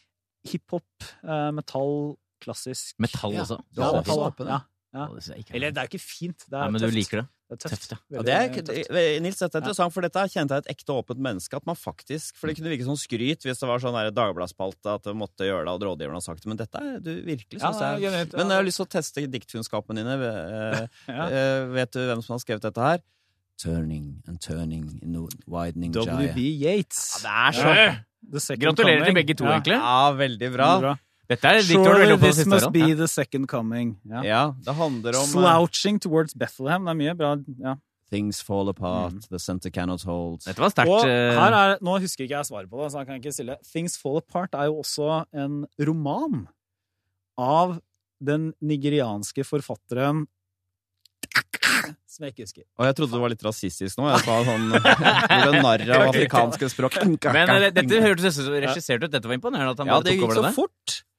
[SPEAKER 3] Hiphop, eh, metall, klassisk
[SPEAKER 2] Metall
[SPEAKER 1] Ja.
[SPEAKER 2] også?
[SPEAKER 1] Du er
[SPEAKER 2] Ja,
[SPEAKER 1] åpen.
[SPEAKER 3] metall,
[SPEAKER 1] åpen, ja.
[SPEAKER 3] ja. Ja.
[SPEAKER 2] Og det synes jeg ikke er
[SPEAKER 3] Eller
[SPEAKER 2] bra.
[SPEAKER 3] det er ikke fint. Det er
[SPEAKER 2] Nei, men
[SPEAKER 3] tøft.
[SPEAKER 2] du liker det.
[SPEAKER 3] Det er tøft.
[SPEAKER 2] Tøft, ja.
[SPEAKER 1] Ja, det er,
[SPEAKER 3] Veldig eh, tøft.
[SPEAKER 1] det- Nils, dette er interessant, for dette kjente jeg et ekte åpent menneske. At man faktisk, For det kunne virke som skryt hvis det var sånn der Dagbladspalte at du måtte gjøre det, og rådgiveren har sagt det, men dette er du virkelig,
[SPEAKER 3] Ja,
[SPEAKER 1] syns
[SPEAKER 3] ja,
[SPEAKER 1] jeg.
[SPEAKER 3] jeg vet, ja.
[SPEAKER 1] Men jeg har lyst til å teste diktkunnskapene dine. eh,
[SPEAKER 3] Ja.
[SPEAKER 1] eh, Vet du hvem som har skrevet dette her? Turning and turning, no- widening
[SPEAKER 3] WB
[SPEAKER 1] jaya.
[SPEAKER 3] Yates.
[SPEAKER 1] Ja, det er så
[SPEAKER 2] Øh,
[SPEAKER 3] The second
[SPEAKER 2] Gratulerer til
[SPEAKER 3] coming.
[SPEAKER 2] begge to,
[SPEAKER 3] Ja.
[SPEAKER 2] egentlig.
[SPEAKER 1] Ja, veldig bra.
[SPEAKER 3] Bra.
[SPEAKER 2] Dette er et dikt Eh, du har vært
[SPEAKER 3] Surely
[SPEAKER 2] veldig oppe på
[SPEAKER 3] this
[SPEAKER 2] siste
[SPEAKER 3] must
[SPEAKER 2] året.
[SPEAKER 3] be the second coming. Ja.
[SPEAKER 1] Ja, det handler om eh,
[SPEAKER 3] Slouching towards Bethlehem. Det er mye bra. Ja.
[SPEAKER 1] Things fall apart, the center cannot hold.
[SPEAKER 2] Dette var sterkt.
[SPEAKER 3] Og
[SPEAKER 2] eh,
[SPEAKER 3] her er, nå husker ikke jeg svaret på det, så jeg kan ikke stille. Things Fall Apart er jo også en roman av den nigerianske forfatteren Som jeg ikke husker.
[SPEAKER 1] Og jeg trodde det var litt rasistisk nå. Jeg sa sånn Gjorde narr av afrikanske språk.
[SPEAKER 2] Men eh, dette hørtes nesten så regissert ut. Dette var imponerende at han
[SPEAKER 1] Ja,
[SPEAKER 2] bare
[SPEAKER 1] det
[SPEAKER 2] tok
[SPEAKER 1] gikk
[SPEAKER 2] over
[SPEAKER 1] så
[SPEAKER 2] det. der.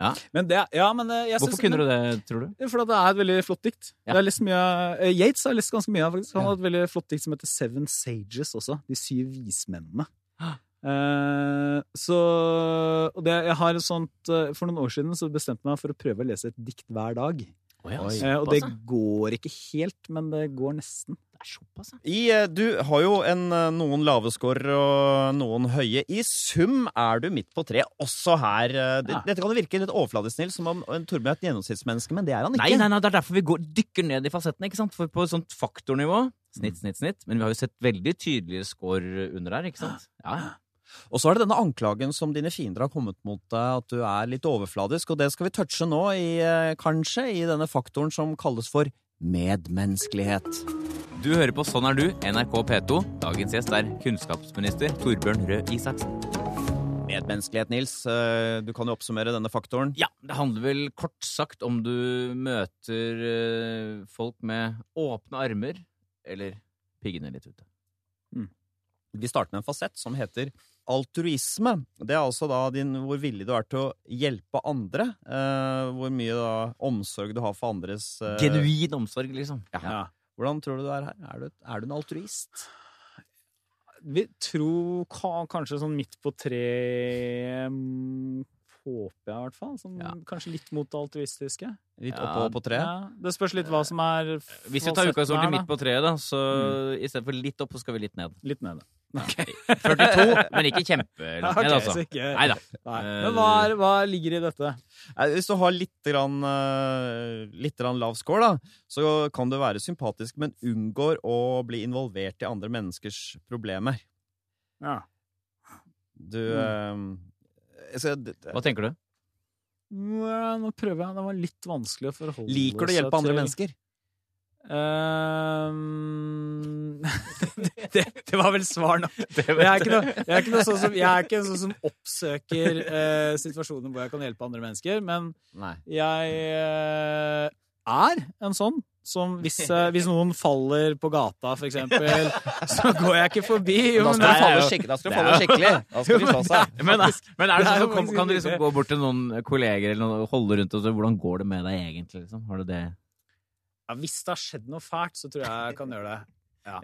[SPEAKER 1] fort.
[SPEAKER 3] Men det, ja, men eh, jeg
[SPEAKER 2] Hvorfor kunne du det, tror du?
[SPEAKER 3] For det er et veldig flott dikt.
[SPEAKER 2] Ja.
[SPEAKER 3] Det er lest mye, eh, Yates har lest ganske mye av faktisk. Han har et veldig flott dikt som heter Seven Sages også. De syv vismennene. Eh, så og det, jeg har et sånt eh, For noen år siden så bestemte jeg meg for å prøve å lese et dikt hver dag.
[SPEAKER 1] Oi.
[SPEAKER 3] Eh, og det
[SPEAKER 2] såpass,
[SPEAKER 3] går ikke helt, men det går nesten.
[SPEAKER 2] ja. Det er såpass, ja.
[SPEAKER 1] I, eh, du har jo en, eh, noen lave score og noen høye. I sum er du midt på tre også her. eh, det-
[SPEAKER 3] Ja.
[SPEAKER 1] Dette kan virke litt overfladisk, Nils, som om en Torbjørn er et gjennomsnittsmenneske, men det er han ikke.
[SPEAKER 2] Nei, nei, nei, det er derfor vi går, dykker ned i fasettene. ikke sant? For på et sånt faktornivå Snitt, snitt, snitt. Men vi har jo sett veldig tydelige score under her, ikke sant? Ja, ja.
[SPEAKER 1] Og så er det denne anklagen som dine fiender har kommet mot deg, at du er litt overfladisk, og det skal vi touche nå, i, eh, kanskje, i denne faktoren som kalles for medmenneskelighet.
[SPEAKER 2] Du hører på Sånn er du, NRK P2. Dagens gjest er kunnskapsminister Torbjørn Røe Isaksen.
[SPEAKER 1] Medmenneskelighet, Nils. eh, Du kan jo oppsummere denne faktoren.
[SPEAKER 2] Ja, det handler vel kort sagt om du møter eh, folk med åpne armer, eller piggene litt ute.
[SPEAKER 1] Vi starter med en fasett som heter altruisme. Det er altså da din, hvor villig du er til å hjelpe andre. eh, hvor mye da, omsorg du har for andres eh,
[SPEAKER 2] Genuin omsorg, liksom. Ja.
[SPEAKER 1] Hvordan tror du du er her? Er du, er du en altruist?
[SPEAKER 3] Vi tror ka, kanskje sånn midt på tre mm, Håper jeg, i hvert fall. Sånn,
[SPEAKER 2] Ja.
[SPEAKER 3] Kanskje litt mot det altruistiske.
[SPEAKER 1] Litt
[SPEAKER 2] Ja, Eh,
[SPEAKER 1] oppover på tre?
[SPEAKER 3] Ja, det spørs litt hva som er
[SPEAKER 2] Hvis vi tar
[SPEAKER 3] fasetten
[SPEAKER 2] utgangspunkt
[SPEAKER 3] her,
[SPEAKER 2] i
[SPEAKER 3] da.
[SPEAKER 2] midt på treet, da, så i stedet for litt opp, så skal vi litt ned.
[SPEAKER 3] Litt ned.
[SPEAKER 2] 42, men ikke kjempelangt ned,
[SPEAKER 3] Ok,
[SPEAKER 2] altså.
[SPEAKER 3] så ikke-
[SPEAKER 2] Nei eh, da.
[SPEAKER 3] Nei. Men hva, er, hva ligger i dette?
[SPEAKER 1] Nei, Eh, Hvis du har litt, grann, eh, litt grann lav score, da, så kan du være sympatisk, men unngår å bli involvert i andre menneskers problemer. Du
[SPEAKER 3] Mm.
[SPEAKER 1] eh, jeg skal-
[SPEAKER 2] Hva tenker du?
[SPEAKER 3] Mwah, Nå prøver jeg. Det var litt vanskelig å forholde
[SPEAKER 1] Liker du å
[SPEAKER 3] seg
[SPEAKER 1] hjelpe andre
[SPEAKER 3] til.
[SPEAKER 1] mennesker?
[SPEAKER 3] Ehm, det, det var vel svar nok. Jeg er ikke, noe, jeg er ikke, noe sånn, som, jeg er ikke en sånn som oppsøker eh, situasjoner hvor jeg kan hjelpe andre mennesker, men
[SPEAKER 1] Nei.
[SPEAKER 3] jeg eh, er en sånn som hvis, eh, hvis noen faller på gata, for eksempel, så går jeg ikke forbi. Jo,
[SPEAKER 1] Da skal
[SPEAKER 3] men det
[SPEAKER 1] du
[SPEAKER 3] er
[SPEAKER 1] falle,
[SPEAKER 3] jo-
[SPEAKER 1] skikk- da skal du falle skikkelig. Da skal de slå seg.
[SPEAKER 2] Men, men er det
[SPEAKER 3] Det er
[SPEAKER 2] sånn, som
[SPEAKER 3] jo
[SPEAKER 2] kom,
[SPEAKER 3] faktisk
[SPEAKER 2] kan du
[SPEAKER 3] litt
[SPEAKER 2] liksom
[SPEAKER 3] det.
[SPEAKER 2] gå bort til noen kolleger eller noe, og holde rundt og se hvordan går det med deg egentlig? Liksom? Har du det?
[SPEAKER 3] ja, hvis det har skjedd noe fælt, så tror jeg jeg kan gjøre det.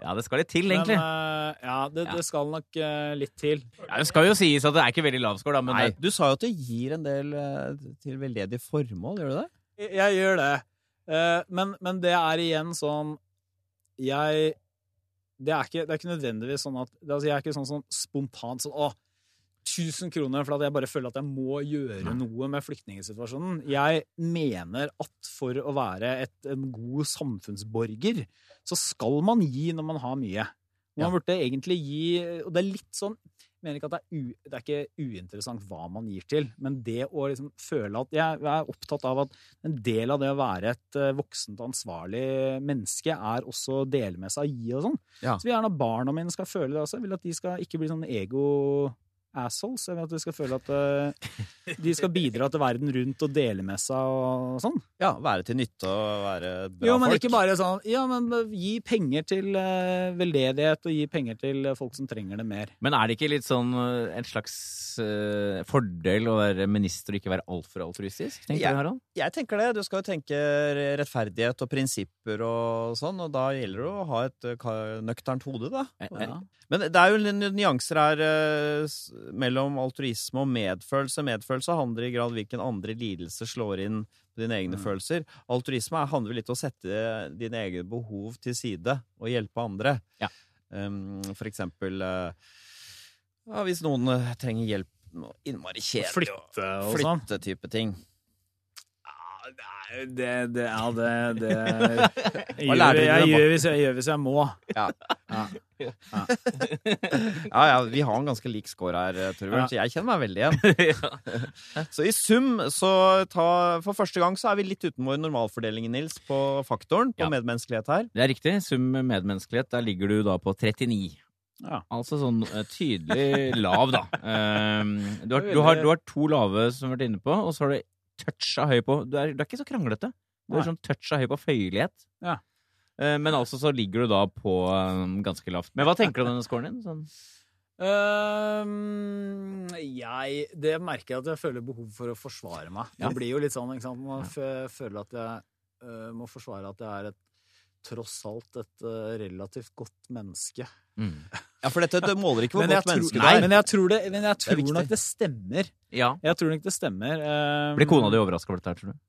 [SPEAKER 2] Ja, det skal litt til, egentlig.
[SPEAKER 3] Men, eh, ja, det, det skal nok eh, litt til.
[SPEAKER 2] Ja, det skal jo sies at det er ikke veldig lav score, da, men
[SPEAKER 1] Nei,
[SPEAKER 2] det-
[SPEAKER 1] du sa jo at du gir en del eh, til veldedige formål, gjør du det?
[SPEAKER 3] Jeg, jeg gjør det. Eh, men, men det er igjen sånn Jeg Det er ikke, det er ikke nødvendigvis sånn at det- altså, Jeg er ikke sånn, sånn spontant sånn Å, 1000 kroner for at jeg bare føler at jeg må gjøre noe med flyktningsituasjonen. Jeg mener at for å være et, en god samfunnsborger, så skal man gi når man har mye. Man burde egentlig gi Og det er litt sånn jeg mener ikke at det er, u, det er ikke uinteressant hva man gir til, men det å liksom føle at Jeg, jeg er opptatt av at en del av det å være et eh, voksent og ansvarlig menneske er også å dele med seg og gi og sånn.
[SPEAKER 1] Ja.
[SPEAKER 3] Så vil gjerne at barna mine skal føle det også. Jeg vil at de skal ikke bli sånn ego-assholes. Jeg vil at de skal føle at eh, de skal bidra til verden rundt og dele med seg og sånn.
[SPEAKER 1] Ja, være til nytte og være bra
[SPEAKER 3] Jo, men
[SPEAKER 1] folk.
[SPEAKER 3] ikke bare sånn Ja, men eh, gi penger til eh, veldedighet, og gi penger til eh, folk som trenger det mer.
[SPEAKER 2] Men er det ikke litt sånn øh, en slags øh, fordel å være minister og ikke være altfor altruistisk? Tenker
[SPEAKER 1] Ja.
[SPEAKER 2] du, Harald?
[SPEAKER 1] Jeg tenker det. Du skal jo tenke rettferdighet og prinsipper og sånn, og da gjelder det å ha et eh, ka- nøkternt hode, da.
[SPEAKER 2] Er, er,
[SPEAKER 3] Ja.
[SPEAKER 1] Men det er jo en nyanser her eh, s- mellom altruisme og medfølelse. Medfølelse handler i grad hvilken andre lidelse slår inn på dine egne
[SPEAKER 3] Mm.
[SPEAKER 1] følelser. Altruisme er- handler litt om å sette dine egne behov til side og hjelpe andre.
[SPEAKER 2] Ja.
[SPEAKER 1] Um, for eksempel eh, ja, hvis noen eh, trenger hjelp med noe innmari kjedelig og
[SPEAKER 3] Flytte og sånn.
[SPEAKER 1] flytte-type ting.
[SPEAKER 3] Ja, nei, Det, det, ja, det, det jeg,
[SPEAKER 1] lærer
[SPEAKER 3] gjør,
[SPEAKER 1] du
[SPEAKER 3] jeg,
[SPEAKER 1] dem, da?
[SPEAKER 3] gjør hvis jeg gjør hvis jeg må.
[SPEAKER 1] Ja.
[SPEAKER 3] Ja.
[SPEAKER 1] Ja, ja, vi har en ganske lik score her, eh, Torbjørn,
[SPEAKER 3] Ja.
[SPEAKER 1] så jeg kjenner meg veldig igjen.
[SPEAKER 2] ja.
[SPEAKER 1] Så i sum, så ta, for første gang så er vi litt utenfor normalfordelingen, Nils, på faktoren på
[SPEAKER 2] Ja.
[SPEAKER 1] medmenneskelighet her.
[SPEAKER 2] Det er riktig. Sum medmenneskelighet. Der ligger du da på 39.
[SPEAKER 3] Ja.
[SPEAKER 2] Altså sånn eh, tydelig lav, da. Ehm, Du har, du, har, du har to lave som vi har vært inne på, og så har du toucha høy på Du er, du er ikke så kranglete. Du er
[SPEAKER 3] Nei.
[SPEAKER 2] sånn toucha høy på føyelighet.
[SPEAKER 3] Ja.
[SPEAKER 2] Eh, Men altså så ligger du da på eh, ganske lavt. Men hva tenker du om denne scoren din? Sånn?
[SPEAKER 3] Øhm, jeg Det merker jeg at jeg føler behov for å forsvare meg.
[SPEAKER 2] Ja.
[SPEAKER 3] Det blir jo litt sånn, ikke sant. Man fø- føler at jeg øh, må forsvare at jeg er et tross alt et øh, relativt godt menneske.
[SPEAKER 2] Mm.
[SPEAKER 1] Ja, for dette det måler ikke hvor
[SPEAKER 3] Men jeg,
[SPEAKER 1] godt
[SPEAKER 3] tror,
[SPEAKER 1] menneske du
[SPEAKER 3] nei,
[SPEAKER 1] er.
[SPEAKER 3] men jeg tror, det, men jeg
[SPEAKER 1] Det er
[SPEAKER 3] tror
[SPEAKER 1] viktig.
[SPEAKER 3] nok det stemmer.
[SPEAKER 2] Ja.
[SPEAKER 3] Jeg tror nok det stemmer. øhm,
[SPEAKER 2] Blir kona di overraska over dette her, tror du?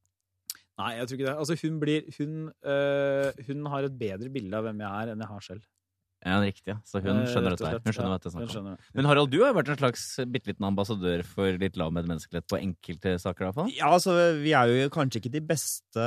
[SPEAKER 3] Nei, jeg tror ikke det. Altså, hun blir Hun, øh, hun har et bedre bilde av hvem jeg er, enn jeg har selv.
[SPEAKER 2] Ja, riktig. ja. Så hun
[SPEAKER 3] Eh,
[SPEAKER 2] skjønner
[SPEAKER 3] rett
[SPEAKER 2] dette
[SPEAKER 3] og
[SPEAKER 2] her.
[SPEAKER 3] slett.
[SPEAKER 2] Hun skjønner
[SPEAKER 3] Ja,
[SPEAKER 2] hva dette er snakk
[SPEAKER 3] hun
[SPEAKER 2] om.
[SPEAKER 3] skjønner det.
[SPEAKER 2] Men Harald, du har jo vært en slags bitte liten ambassadør for litt lav medmenneskelighet på enkelte saker, i hvert fall.
[SPEAKER 1] Ja, altså, vi er jo kanskje ikke de beste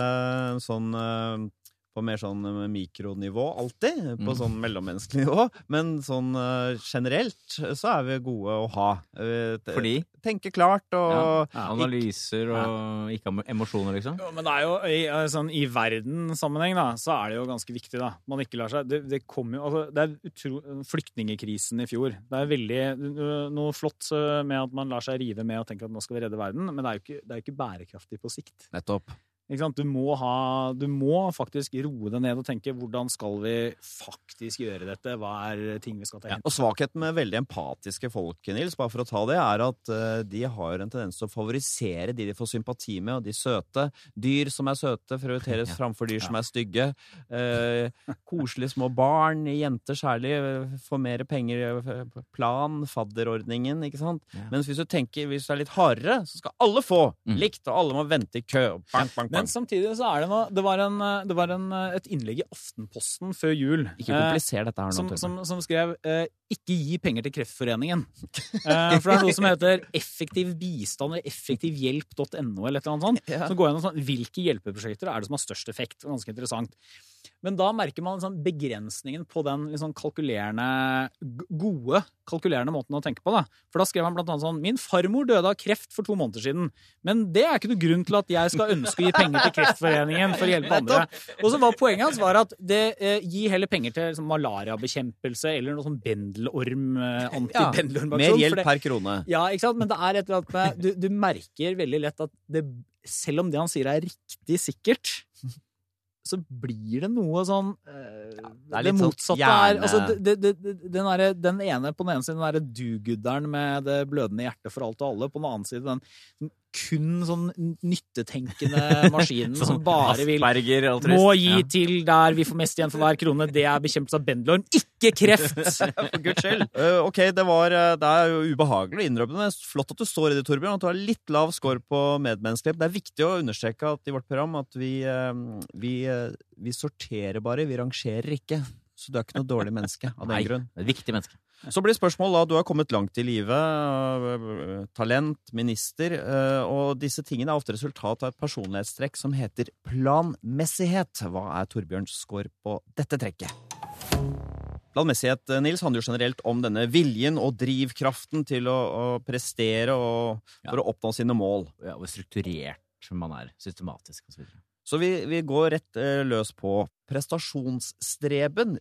[SPEAKER 1] sånn eh, på mer sånn mikronivå alltid, på
[SPEAKER 2] Mm.
[SPEAKER 1] sånn mellommenneskelig nivå, men sånn eh, generelt så er vi gode å ha. Eh, te-
[SPEAKER 2] Fordi
[SPEAKER 1] Tenke klart og
[SPEAKER 2] Ja.
[SPEAKER 3] Ja.
[SPEAKER 2] analyser og ikke am- emosjoner, liksom.
[SPEAKER 3] Jo, men det er jo i, eh, sånn, i verdenssammenheng da, så er det jo ganske viktig da. Man ikke lar seg, det, det kom jo, altså, det er utro, flyktningekrisen i fjor. Det er veldig øh, noe flott øh, med at man lar seg rive med og tenker at nå skal vi redde verden, men det er jo ikke, det er jo ikke bærekraftig på sikt.
[SPEAKER 1] Nettopp.
[SPEAKER 3] Ikke sant? Du, må ha, du må faktisk roe deg ned og tenke hvordan skal vi faktisk gjøre dette? Hva er ting vi skal ta
[SPEAKER 1] Ja.
[SPEAKER 3] hensyn
[SPEAKER 1] Og svakheten med veldig empatiske folk, Nils, bare for å ta det, er at eh, de har en tendens til å favorisere de de får sympati med, og de søte. Dyr som er søte, prioriteres
[SPEAKER 2] Ja.
[SPEAKER 1] framfor dyr som er stygge. Eh, koselige små barn, jenter særlig, eh, får mer penger eh, på plan, fadderordningen, ikke sant?
[SPEAKER 2] Ja.
[SPEAKER 1] Mens hvis du tenker, hvis du er litt hardere, så skal alle få
[SPEAKER 2] Mm.
[SPEAKER 1] likt, og alle må vente i kø. og Bang, bang, bang.
[SPEAKER 3] Men samtidig så er det noe, det var, en, eh, det var en, eh, et innlegg i Aftenposten før jul.
[SPEAKER 1] Ikke
[SPEAKER 3] Eh,
[SPEAKER 1] kompliser dette her nå,
[SPEAKER 3] som,
[SPEAKER 1] Torbjørn.
[SPEAKER 3] som, som skrev eh, 'ikke gi penger til Kreftforeningen'. Eh, for det er noe som heter effektiv bistand eller effektivhjelp.no eller et eller annet sånt.
[SPEAKER 1] Ja.
[SPEAKER 3] Så går jeg gjennom sånn, hvilke hjelpeprosjekter er det som har størst effekt. Ganske interessant. Men da merker man sånn, begrensningen på den litt sånn kalkulerende, g- gode kalkulerende måten å tenke på. Da. For da skrev han blant annet sånn 'Min farmor døde av kreft for to måneder siden', men det er ikke noe grunn til at jeg skal ønske å gi penger til Kreftforeningen for å hjelpe andre. Og så var poenget hans var at det, eh, gi heller penger til liksom, malariabekjempelse eller noe sånn bendelorm, eh,
[SPEAKER 1] Ja,
[SPEAKER 3] antibendelormaksjon.
[SPEAKER 1] Mer
[SPEAKER 3] for
[SPEAKER 1] hjelp
[SPEAKER 3] det-
[SPEAKER 1] per krone.
[SPEAKER 3] ja, ikke sant? Men det er et eller annet med Du, du merker veldig lett at det, selv om det han sier er riktig sikkert, så blir det noe sånn eh,
[SPEAKER 1] det er
[SPEAKER 3] Det
[SPEAKER 1] litt sånn
[SPEAKER 3] motsatte
[SPEAKER 1] hjerne-
[SPEAKER 3] er altså, det, det, det, den, derre- den ene på den ene siden den derre do-gooderen med det blødende hjertet for alt og alle, på den annen side den kun sånn nyttetenkende maskinen
[SPEAKER 1] Sånn
[SPEAKER 2] Sånn
[SPEAKER 3] som bare vil
[SPEAKER 2] Asperger, altruist.
[SPEAKER 3] må gi
[SPEAKER 2] Ja.
[SPEAKER 3] til der vi får mest igjen for hver krone. Det er bekjempelse av bendelorm, ikke kreft!
[SPEAKER 1] For guds skyld. Eh, ok, det, var, eh, det er jo ubehagelig å innrømme det, men flott at du står i det, Torbjørn. At du har litt lav score på medmenneskelighet. Det er viktig å understreke at i vårt program at vi, eh, vi, eh, vi sorterer bare, vi rangerer ikke. Så du er ikke noe dårlig menneske av den
[SPEAKER 2] Nei,
[SPEAKER 1] grunn.
[SPEAKER 2] det er et viktig menneske.
[SPEAKER 1] Så blir spørsmålet da, du har kommet langt i livet, øh, øh, talent, minister, øh, og disse tingene er ofte resultat av et personlighetstrekk som heter planmessighet. Hva er Torbjørns score på dette trekket? Planmessighet, eh, Nils, handler jo generelt om denne viljen og drivkraften til å, å prestere og,
[SPEAKER 2] Ja.
[SPEAKER 1] for å oppnå sine mål.
[SPEAKER 2] Ja, hvor strukturert man er. Systematisk og så videre.
[SPEAKER 1] Så vi, vi går rett eh, løs på prestasjonsstreben.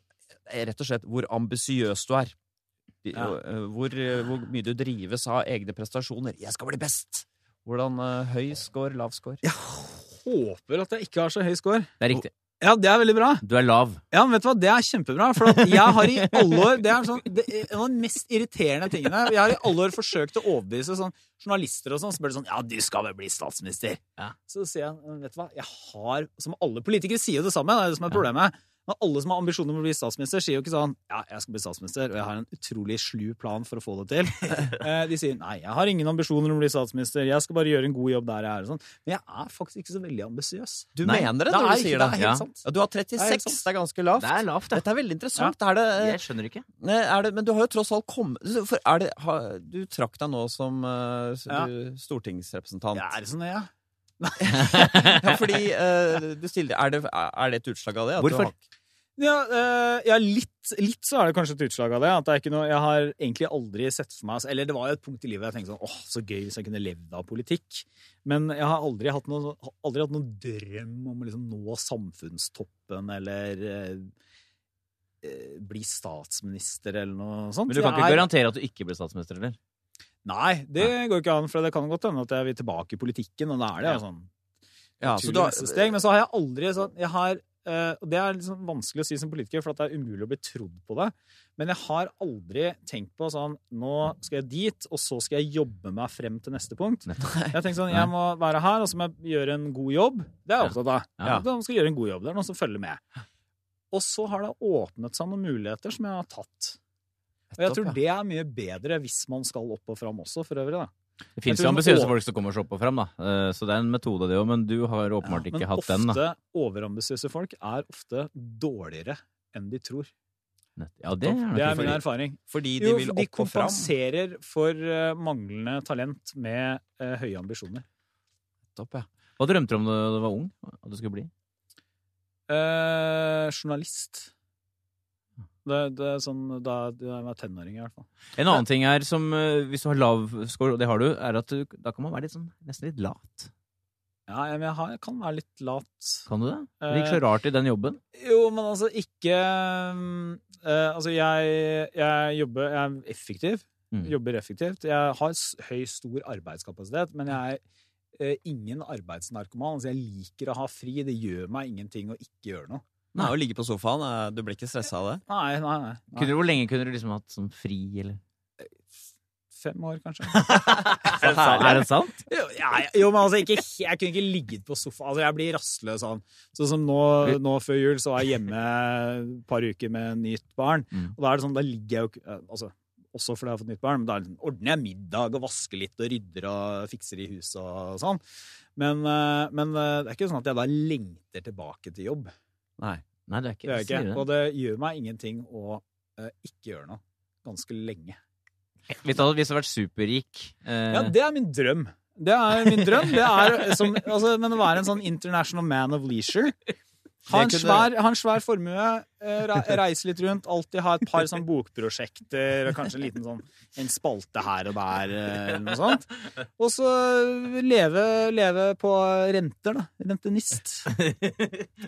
[SPEAKER 1] eh, Rett og slett hvor ambisiøs du er. I-
[SPEAKER 3] Ja.
[SPEAKER 1] og, eh, Hvor, eh, hvor mye du drives av egne prestasjoner. 'Jeg skal bli best'! Hvordan eh, høy score, lav score?
[SPEAKER 3] Jeg håper at jeg ikke har så høy score.
[SPEAKER 2] Det er riktig.
[SPEAKER 3] Ja, det er veldig bra.
[SPEAKER 2] Du er lav.
[SPEAKER 3] Ja, men vet du hva, det er kjempebra. For at jeg har i alle år Det er sånn, det er en av de mest irriterende tingene. Jeg har i alle år forsøkt å overbevise sånn, journalister og sånn. Spør de sånn Ja, du skal vel bli statsminister?
[SPEAKER 2] Ja.
[SPEAKER 3] Så sier jeg, vet du hva, jeg har Som alle politikere sier jo det samme, det er det som er problemet. Men alle som har ambisjoner om å bli statsminister, sier jo ikke sånn Ja, jeg skal bli statsminister, og jeg har en utrolig slu plan for å få det til. Eh, De sier nei, jeg har ingen ambisjoner om å bli statsminister, jeg skal bare gjøre en god jobb der jeg er. og Sånn. Men jeg er faktisk ikke så veldig ambisiøs.
[SPEAKER 1] Du
[SPEAKER 2] Nei,
[SPEAKER 1] mener det
[SPEAKER 3] Det
[SPEAKER 1] når
[SPEAKER 3] er
[SPEAKER 1] du
[SPEAKER 3] ikke-
[SPEAKER 1] sier
[SPEAKER 3] det
[SPEAKER 1] det.
[SPEAKER 3] er helt
[SPEAKER 2] Ja.
[SPEAKER 3] sant.
[SPEAKER 1] Ja, du har
[SPEAKER 3] Det er
[SPEAKER 1] 36,
[SPEAKER 3] helt sant.
[SPEAKER 1] det er ganske lavt.
[SPEAKER 2] Det er lavt, det.
[SPEAKER 1] Dette er veldig interessant. Er det,
[SPEAKER 2] Jeg skjønner ikke.
[SPEAKER 1] Nei, Er det, men du har jo tross alt kommet for er det, ha, Du trakk deg nå som eh, s-
[SPEAKER 3] Ja.
[SPEAKER 1] du- stortingsrepresentant.
[SPEAKER 3] Jeg er sånn, jeg.
[SPEAKER 1] Ja, fordi eh, du stiller, er, det, er det et utslag av det? at du
[SPEAKER 2] Hvorfor?
[SPEAKER 1] har-
[SPEAKER 3] Ja, eh, ja litt, litt så er det kanskje et utslag av det. At det er ikke noe, jeg har egentlig aldri sett for meg Eller det var jo et punkt i livet jeg tenkte sånn åh, så gøy hvis jeg kunne levd av politikk. Men jeg har aldri hatt noen, aldri hatt noen drøm om å liksom nå samfunnstoppen eller eh, eh, bli statsminister eller noe sånt.
[SPEAKER 2] Men du kan
[SPEAKER 3] Jeg
[SPEAKER 2] ikke
[SPEAKER 3] er-
[SPEAKER 2] garantere at du ikke blir statsminister, eller?
[SPEAKER 3] Nei, det går ikke an, for det kan godt hende at jeg vil tilbake i politikken, og da er det
[SPEAKER 2] Ja.
[SPEAKER 3] jo sånn
[SPEAKER 1] ja, så
[SPEAKER 3] naturlig
[SPEAKER 1] du har,
[SPEAKER 3] neste steg. Men så har jeg aldri sånn jeg har, eh, Og det er liksom vanskelig å si som politiker, for at det er umulig å bli trodd på det. Men jeg har aldri tenkt på sånn Nå skal jeg dit, og så skal jeg jobbe meg frem til neste punkt. Jeg har tenkt sånn Jeg må være her, og så må jeg gjøre en god jobb. Det er jeg opptatt av.
[SPEAKER 1] Ja.
[SPEAKER 3] Da skal jeg gjøre en god jobb. Det er noen som følger med. Og så har det åpnet seg noen muligheter som jeg har tatt. Og jeg tror
[SPEAKER 1] Nettopp,
[SPEAKER 3] det er mye bedre hvis man skal opp og fram også, for øvrig. da.
[SPEAKER 2] Det fins
[SPEAKER 3] Jeg
[SPEAKER 2] jo
[SPEAKER 3] tror
[SPEAKER 2] ambisiøse
[SPEAKER 3] å-
[SPEAKER 2] folk som kommer seg opp og fram, da. Eh, Så det er en metode, det òg. Men du har åpenbart
[SPEAKER 3] Ja,
[SPEAKER 2] ikke hatt den, da.
[SPEAKER 3] Men ofte overambisiøse folk er ofte dårligere enn de tror.
[SPEAKER 2] Nett- Ja, det er
[SPEAKER 3] Det
[SPEAKER 2] nok
[SPEAKER 3] er min
[SPEAKER 2] fordi-
[SPEAKER 3] erfaring.
[SPEAKER 1] fordi de
[SPEAKER 3] Jo,
[SPEAKER 1] vil
[SPEAKER 3] de
[SPEAKER 1] opp og fram.
[SPEAKER 3] kompenserer for eh, manglende talent med eh, høye ambisjoner.
[SPEAKER 1] Nettopp, ja.
[SPEAKER 2] Hva drømte du om da du var ung? At du skulle bli?
[SPEAKER 3] Eh, journalist. Det, det er sånn da da jeg var tenåring, i hvert fall.
[SPEAKER 2] En annen ting er som eh, Hvis du har lav score, og det har du, er at du, da kan man være litt sånn nesten litt lat.
[SPEAKER 3] Ja, men jeg, har, jeg kan være litt lat.
[SPEAKER 2] Kan du det? Det
[SPEAKER 3] Eh,
[SPEAKER 2] gikk så rart i den jobben.
[SPEAKER 3] Jo, men altså ikke mm, eh, Altså, jeg, jeg jobber Jeg er effektiv.
[SPEAKER 2] Mm.
[SPEAKER 3] Jobber effektivt. Jeg har s- høy, stor arbeidskapasitet, men jeg er eh, ingen arbeidsnarkoman. Altså, jeg liker å ha fri. Det gjør meg ingenting å ikke gjøre noe.
[SPEAKER 1] Nei, å ligge på sofaen, eh, du blir ikke stressa av det?
[SPEAKER 3] Nei, nei, nei.
[SPEAKER 2] Kunne
[SPEAKER 3] nei.
[SPEAKER 2] du, hvor lenge kunne du liksom hatt sånn fri, eller
[SPEAKER 3] Fem år, kanskje.
[SPEAKER 1] Så herlig.
[SPEAKER 2] Er det sant?
[SPEAKER 3] Jo, ja, ja, jo, men altså, ikke, he- jeg kunne ikke ligget på sofaen. Altså, jeg blir rastløs av den. Sånn som nå, nå før jul, så var jeg hjemme et par uker med nytt barn.
[SPEAKER 2] Mm.
[SPEAKER 3] Og da er det sånn, da ligger jeg jo ikke eh, altså, Også fordi jeg har fått nytt barn, men da er det sånn, ordner jeg middag og vasker litt og rydder og fikser i huset og sånn. Men, eh, men eh, det er ikke sånn at jeg da lengter tilbake til jobb.
[SPEAKER 1] Nei.
[SPEAKER 2] Nei, det er ikke
[SPEAKER 3] Det gjør jeg
[SPEAKER 2] sier
[SPEAKER 3] ikke.
[SPEAKER 2] du
[SPEAKER 3] Og det gjør meg ingenting å eh, ikke gjøre noe ganske lenge.
[SPEAKER 2] det. Hvis du hadde, hvis du hadde vært superrik eh,
[SPEAKER 3] Ja, det er min drøm. Det er min drøm. Det er som, altså, men å være en sånn international man of leisure. Ha en
[SPEAKER 1] Det kunne-
[SPEAKER 3] svær, ha en svær formue, eh, re- reise litt rundt, alltid ha et par sånn bokprosjekter og kanskje en liten sånn en spalte her og der eh, eller noe sånt. Og så leve, leve på renter, da. Rentenist.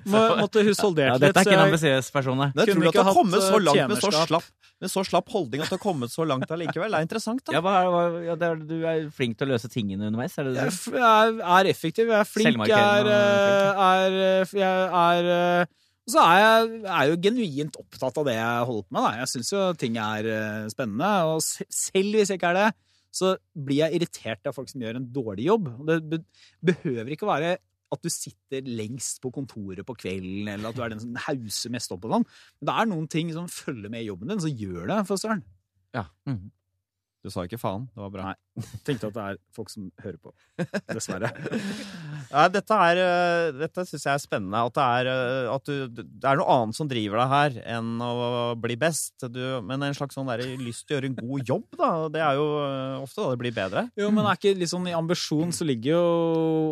[SPEAKER 3] Må, måtte eh, husholdert
[SPEAKER 2] ja,
[SPEAKER 3] litt.
[SPEAKER 2] dette er
[SPEAKER 3] så
[SPEAKER 2] ikke en
[SPEAKER 3] jeg-
[SPEAKER 2] ambisiøs person, nei.
[SPEAKER 1] Men jeg
[SPEAKER 3] Kunne
[SPEAKER 1] tror du at
[SPEAKER 3] ikke
[SPEAKER 1] du har
[SPEAKER 3] hatt,
[SPEAKER 1] kommet så
[SPEAKER 3] eh,
[SPEAKER 1] langt med så,
[SPEAKER 3] tjenerskap.
[SPEAKER 1] slapp, med så slapp holdning at du har kommet så langt allikevel? Det er interessant, da.
[SPEAKER 2] Ja, hva, er- hva, ja, det er, du er flink til å løse tingene underveis, er det det?
[SPEAKER 3] Jeg f- jeg er, er effektiv, jeg er flink, jeg er, eh,
[SPEAKER 2] Selvmarkerende og
[SPEAKER 3] er, er, jeg er eh, og så er jeg er jo genuint opptatt av det jeg holder på med. Da. Jeg syns jo ting er eh, spennende. Og se- selv hvis jeg ikke er det, så blir jeg irritert av folk som gjør en dårlig jobb. Og Det be behøver ikke å være at du sitter lengst på kontoret på kvelden, eller at du er den som hauser mest opp og sånn. Men det er noen ting som følger med i jobben din, så gjør det, for søren.
[SPEAKER 2] Ja. Mm.
[SPEAKER 1] Du sa ikke faen. Det var bra.
[SPEAKER 3] Nei. Tenkte at det er folk som hører på. Dessverre.
[SPEAKER 1] Nei, dette er, øh, dette syns jeg er spennende. At det er, øh, at du, det er noe annet som driver deg her enn å bli best. Du, men en slags sånn der, lyst til å gjøre en god jobb, da. Det er jo øh, ofte da det blir bedre.
[SPEAKER 3] Jo, men er ikke litt sånn i ambisjon så ligger jo,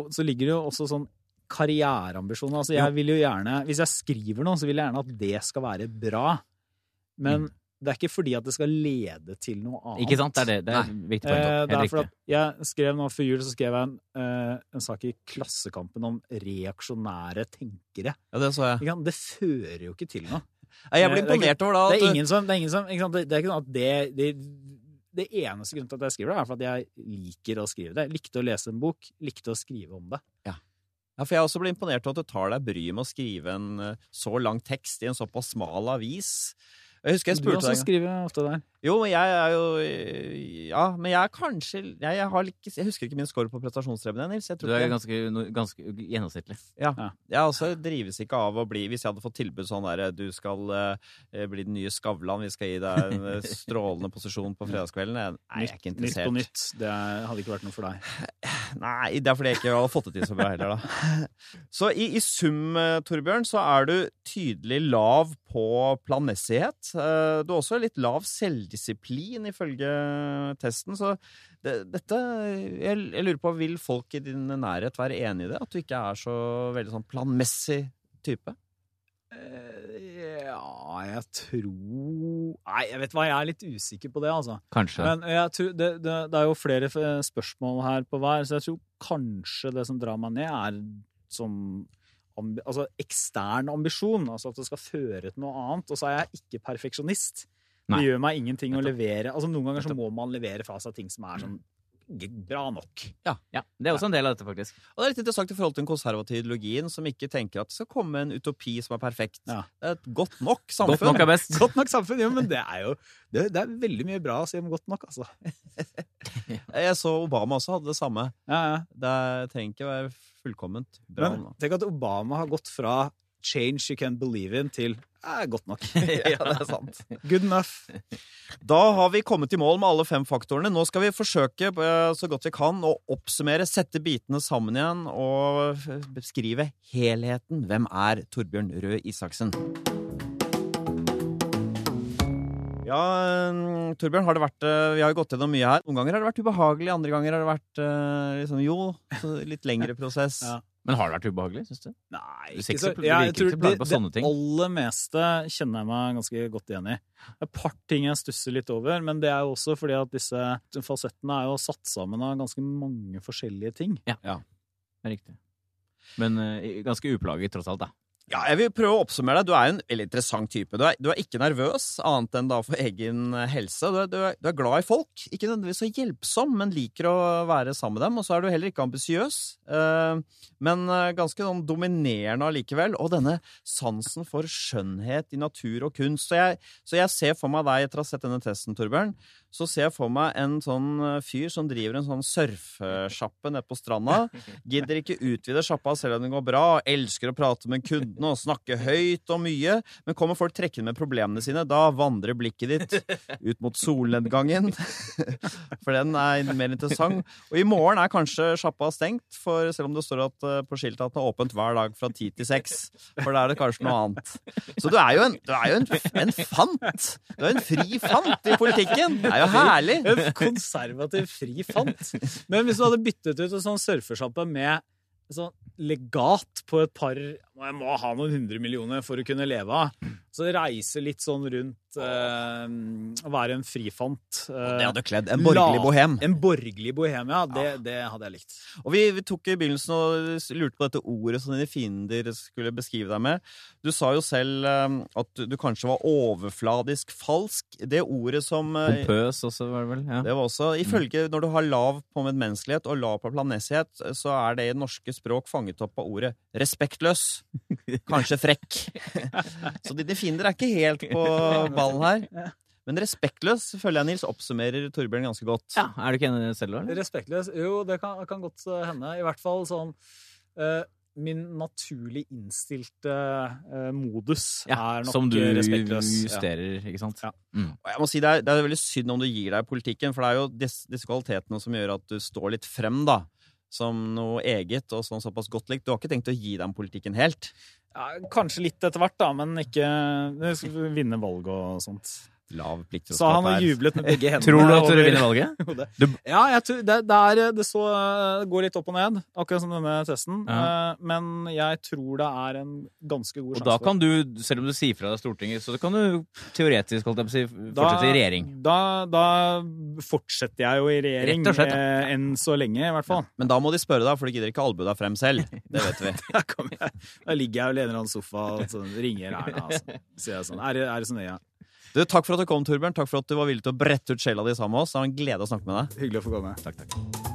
[SPEAKER 3] så ligger det jo også sånn karriereambisjoner. Altså jeg vil jo gjerne, hvis jeg skriver noe, så vil jeg gjerne at det skal være bra. Men det er ikke fordi at det skal lede til noe annet.
[SPEAKER 2] Mm. Ikke sant? Det er det. Det er et viktig poeng.
[SPEAKER 3] Eh,
[SPEAKER 2] Helt
[SPEAKER 3] det er
[SPEAKER 2] riktig.
[SPEAKER 3] fordi at jeg skrev nå før jul så skrev jeg en, eh, en sak i Klassekampen om reaksjonære tenkere.
[SPEAKER 1] Ja, det så jeg.
[SPEAKER 3] Ikke sant? Det fører jo ikke til noe.
[SPEAKER 1] Nei, Jeg ble
[SPEAKER 3] Nei, det er
[SPEAKER 1] imponert over da
[SPEAKER 3] Det
[SPEAKER 1] at eh,
[SPEAKER 3] er ingen som, det er ingen som ikke sant? Det, det er ikke noe at det, det det eneste grunnen til at jeg skriver det, er for at jeg liker å skrive det. Jeg likte å lese en bok, likte å skrive om det.
[SPEAKER 1] ja, For jeg også ble eh, imponert over at du tar deg bryet med å skrive en øh, så lang tekst i en såpass smal avis. Jeg husker jeg
[SPEAKER 3] Du
[SPEAKER 1] spurte
[SPEAKER 3] også
[SPEAKER 1] deg en gang.
[SPEAKER 3] skriver ofte der.
[SPEAKER 1] Jo, men jeg er jo eh, Ja, men jeg er kanskje jeg, jeg, har ikke, jeg husker ikke min score på prestasjonsstreben, jeg, Nils. Jeg,
[SPEAKER 2] Du
[SPEAKER 1] tror
[SPEAKER 2] er
[SPEAKER 1] ikke,
[SPEAKER 2] ganske, no- ganske gjennomsnittlig.
[SPEAKER 1] jeg også drives ikke av å bli Hvis jeg hadde fått tilbud sånn der Du skal eh, bli den nye Skavlan, vi skal gi deg en eh, strålende posisjon på fredagskvelden. Jeg, nei, jeg er ikke
[SPEAKER 3] Nytt på
[SPEAKER 1] interessert.
[SPEAKER 3] nytt. Det er, hadde ikke vært noe for deg.
[SPEAKER 1] Nei, det er fordi jeg ikke hadde fått det til så bra heller, da. Så i, i sum, eh, Torbjørn, så er du tydelig lav på planmessighet. Eh, Du har også litt lav selvdisiplin, ifølge testen. Så det, dette jeg, jeg lurer på, vil folk i din nærhet være enig i det? At du ikke er så veldig sånn planmessig type?
[SPEAKER 3] Eh, Ja, jeg tror Nei, jeg vet hva, jeg er litt usikker på det, altså.
[SPEAKER 2] Kanskje.
[SPEAKER 3] Men jeg tror, det, det, det er jo flere f- spørsmål her på hver, så jeg tror kanskje det som drar meg ned, er sånn ambi, altså ekstern ambisjon. Altså at det skal føre til noe annet. Og så er jeg ikke perfeksjonist. Det
[SPEAKER 2] Nei.
[SPEAKER 3] gjør meg ingenting å
[SPEAKER 2] Nettopp.
[SPEAKER 3] levere. Altså Noen ganger så må man levere fra seg ting som er sånn ikke bra nok.
[SPEAKER 2] Ja, ja. Det er også en del av dette, faktisk.
[SPEAKER 1] Og det er litt interessant i forhold til den konservative ideologien, som ikke tenker at det skal komme en utopi som er perfekt.
[SPEAKER 3] Ja.
[SPEAKER 1] Det er et godt nok samfunn.
[SPEAKER 2] Godt nok er best.
[SPEAKER 3] Godt nok samfunn, jo, men det er jo det, det er veldig mye bra å si om godt nok, altså.
[SPEAKER 1] Jeg så Obama også hadde det samme.
[SPEAKER 3] Ja, ja.
[SPEAKER 1] Det trenger ikke være fullkomment bra.
[SPEAKER 3] Men
[SPEAKER 1] nå.
[SPEAKER 3] tenk at Obama har gått fra 'change you can believe in' til eh, 'godt nok'.
[SPEAKER 1] ja, det er sant.
[SPEAKER 3] Good enough.
[SPEAKER 1] Da har vi kommet i mål med alle fem faktorene. Nå skal vi forsøke eh, så godt vi kan å oppsummere, sette bitene sammen igjen og eh, beskrive helheten. Hvem er Torbjørn Røe Isaksen? Ja, eh, Torbjørn, har det vært, eh, vi har jo gått gjennom mye her. Noen ganger har det vært ubehagelig, andre ganger har det vært eh, liksom, jo, så litt lengre prosess.
[SPEAKER 3] Ja.
[SPEAKER 2] Men har det vært ubehagelig, syns du?
[SPEAKER 3] Nei,
[SPEAKER 2] Du
[SPEAKER 3] ikke
[SPEAKER 2] ser ikke
[SPEAKER 3] så,
[SPEAKER 2] så- du
[SPEAKER 3] jeg
[SPEAKER 2] virker
[SPEAKER 3] tror
[SPEAKER 2] ikke så
[SPEAKER 3] det,
[SPEAKER 2] plaget på sånne
[SPEAKER 3] det
[SPEAKER 2] ting.
[SPEAKER 3] aller meste kjenner jeg meg ganske godt igjen i. Det er et par ting jeg stusser litt over, men det er jo også fordi at disse falsettene er jo satt sammen av ganske mange forskjellige ting.
[SPEAKER 2] Det er riktig. Men eh, ganske uplaget, tross alt, da.
[SPEAKER 1] Ja, jeg vil prøve å oppsummere deg. Du er en veldig interessant type. Du er, du er ikke nervøs, annet enn da for egen eh, helse. Du er, du, er, du er glad i folk. Ikke nødvendigvis så hjelpsom, men liker å være sammen med dem. Og så er du heller ikke ambisiøs, eh, men eh, ganske sånn dominerende allikevel. Og denne sansen for skjønnhet i natur og kunst. Så jeg, så jeg ser for meg deg, etter å ha sett denne testen, Torbjørn, så ser jeg for meg en sånn eh, fyr som driver en sånn surfesjappe nede på stranda. Gidder ikke utvide sjappa selv om det går bra, elsker å prate med kundene og snakke høyt og mye, men kommer folk trekkende med problemene sine, da vandrer blikket ditt ut mot solnedgangen, for den er mer interessant. Og i morgen er kanskje sjappa stengt, for selv om det står at, eh, på skiltet at den er åpent hver dag fra ti til seks, for da er det kanskje noe annet. Så du er jo en, du er jo en, en fant! Du er en fri fant i politikken! Det er jo herlig!
[SPEAKER 3] En konservativ fri fant. Men hvis du hadde byttet ut en sånn surfesjappe med en sånn legat på et par «Å, Jeg må ha noen hundre millioner for å kunne leve av. Så reise litt sånn rundt eh, og være en frifant.
[SPEAKER 1] Det
[SPEAKER 3] Eh,
[SPEAKER 1] hadde kledd en borgerlig
[SPEAKER 3] La-
[SPEAKER 1] bohem.
[SPEAKER 3] en borgerlig bohemia, det, det hadde jeg likt.
[SPEAKER 1] Og vi, vi tok i begynnelsen og s- lurte på dette ordet som dine fiender skulle beskrive deg med. Du sa jo selv eh, at du- du kanskje var overfladisk falsk. Det ordet som eh,
[SPEAKER 2] Pompøs også, var det vel? Ja.
[SPEAKER 1] det var også, ifølge Når du har lav på medmenneskelighet og lav på planessighet, så er det i norske språk fanget opp av ordet respektløs. Kanskje frekk. Så dine fiender er ikke helt på ballen her. Men respektløs føler jeg Nils oppsummerer Torbjørn ganske godt.
[SPEAKER 2] Ja, Er du ikke enig selv, da? eller?
[SPEAKER 3] Respektløs? Jo, det kan, kan godt eh, hende. I hvert fall sånn eh, Min naturlig innstilte eh, modus
[SPEAKER 2] Ja,
[SPEAKER 3] er nok
[SPEAKER 2] som du
[SPEAKER 3] eh, respektløs.
[SPEAKER 2] justerer, ikke sant?
[SPEAKER 3] Ja.
[SPEAKER 1] Og jeg må si det er, det er veldig synd om du gir deg i politikken, for det er jo disse, disse kvalitetene som gjør at du står litt frem, da. Som noe eget og sånn såpass godt likt. Du har ikke tenkt å gi deg om politikken helt?
[SPEAKER 3] Ja, kanskje litt etter hvert, da, men ikke det skal vinne valg og sånt.
[SPEAKER 1] Lav plikt til å
[SPEAKER 3] Så han
[SPEAKER 1] skape
[SPEAKER 3] har
[SPEAKER 1] her.
[SPEAKER 3] jublet med begge hendene.
[SPEAKER 2] Tror du at du
[SPEAKER 3] over
[SPEAKER 2] vinner valget?
[SPEAKER 3] hodet.
[SPEAKER 2] Du-
[SPEAKER 3] Ja, jeg tror, det, det, er, det, så, det går litt opp og ned, akkurat som denne testen.
[SPEAKER 2] Ja.
[SPEAKER 3] Eh, Men jeg tror det er en ganske god
[SPEAKER 2] Og
[SPEAKER 3] sjanse.
[SPEAKER 2] da
[SPEAKER 3] for-
[SPEAKER 2] kan du, selv om du sier fra deg Stortinget, så kan du teoretisk holdt jeg på å si, fortsette i regjering.
[SPEAKER 3] Da, da fortsetter jeg jo i regjering,
[SPEAKER 2] Rett og slett,
[SPEAKER 3] eh, enn så lenge i hvert fall.
[SPEAKER 1] Men da må de spørre deg, for du gidder ikke albue deg frem selv. Det vet vi.
[SPEAKER 3] Da, kommer jeg, da ligger jeg og lener an sofa og sånn, ringer Erna. Altså. Så jeg er sånn, er, det- er det så nøye?
[SPEAKER 1] Du, takk for at du kom, Torbjørn. Takk for at du var villig til å brette ut sjela di sammen med oss. Det var en glede å snakke med deg.
[SPEAKER 3] Hyggelig å få komme.
[SPEAKER 2] Takk, takk.